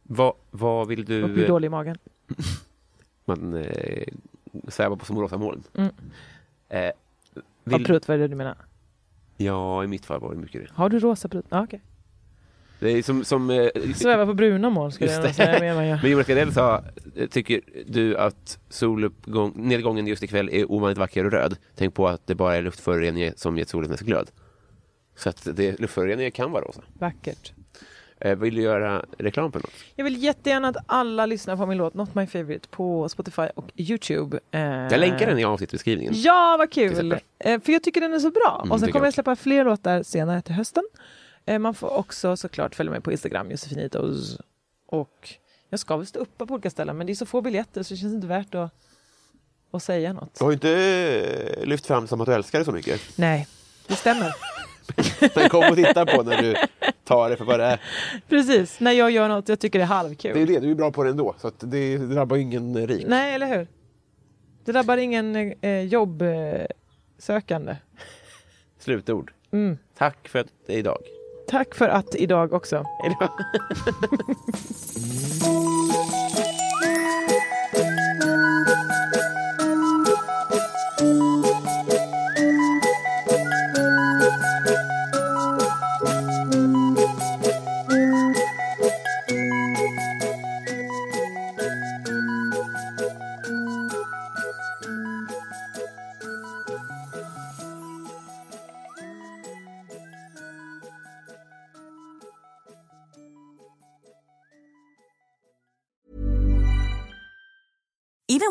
Vad, vad vill Och du? eh, blir dålig i magen. Man eh, svävar på små rosa moln. Mm. Eh, Vill... vill, prut, vad är det du menar? ja, i mitt fall var det mycket det. Har du rosa prut? Ja, okej. Det är som, som eh, Sväva på bruna moln skulle Just jag det. nog säga mer man gör. men Jonas Gardell sa, tycker du att solnedgången just ikväll är ovanligt vacker och röd? Tänk på att det bara är luftföroreningar som gett solen dess glöd. Så att det, luftföroreningar kan vara rosa. Vackert. Eh, vill du göra reklam för något? Jag vill jättegärna att alla lyssnar på min låt Not My Favorite på Spotify och Youtube. Eh, Jag länkar den i avsnittbeskrivningen. Ja, vad Till kul! exempel. Eh, för jag tycker den är så bra. Mm, och sen tycker kommer jag jag släppa fler låtar senare till hösten. Eh, man får också såklart följa mig på Instagram, Josefinitos. Och jag ska väl stå uppe på olika ställen, men det är så få biljetter så det känns inte värt att, att säga något. har ju inte eh, lyft fram som att du älskar det så mycket. Nej, det stämmer. Men kom och titta på när du tar det för vad det är. Precis, när jag gör något jag tycker det är Det är halvkul. ju det, du är bra på det ändå. Så att det drabbar ju ingen rik. Nej, eller hur? Det drabbar ingen eh, jobbsökande. Slutord. Mm. Tack för att det är idag. Tack för att idag också. even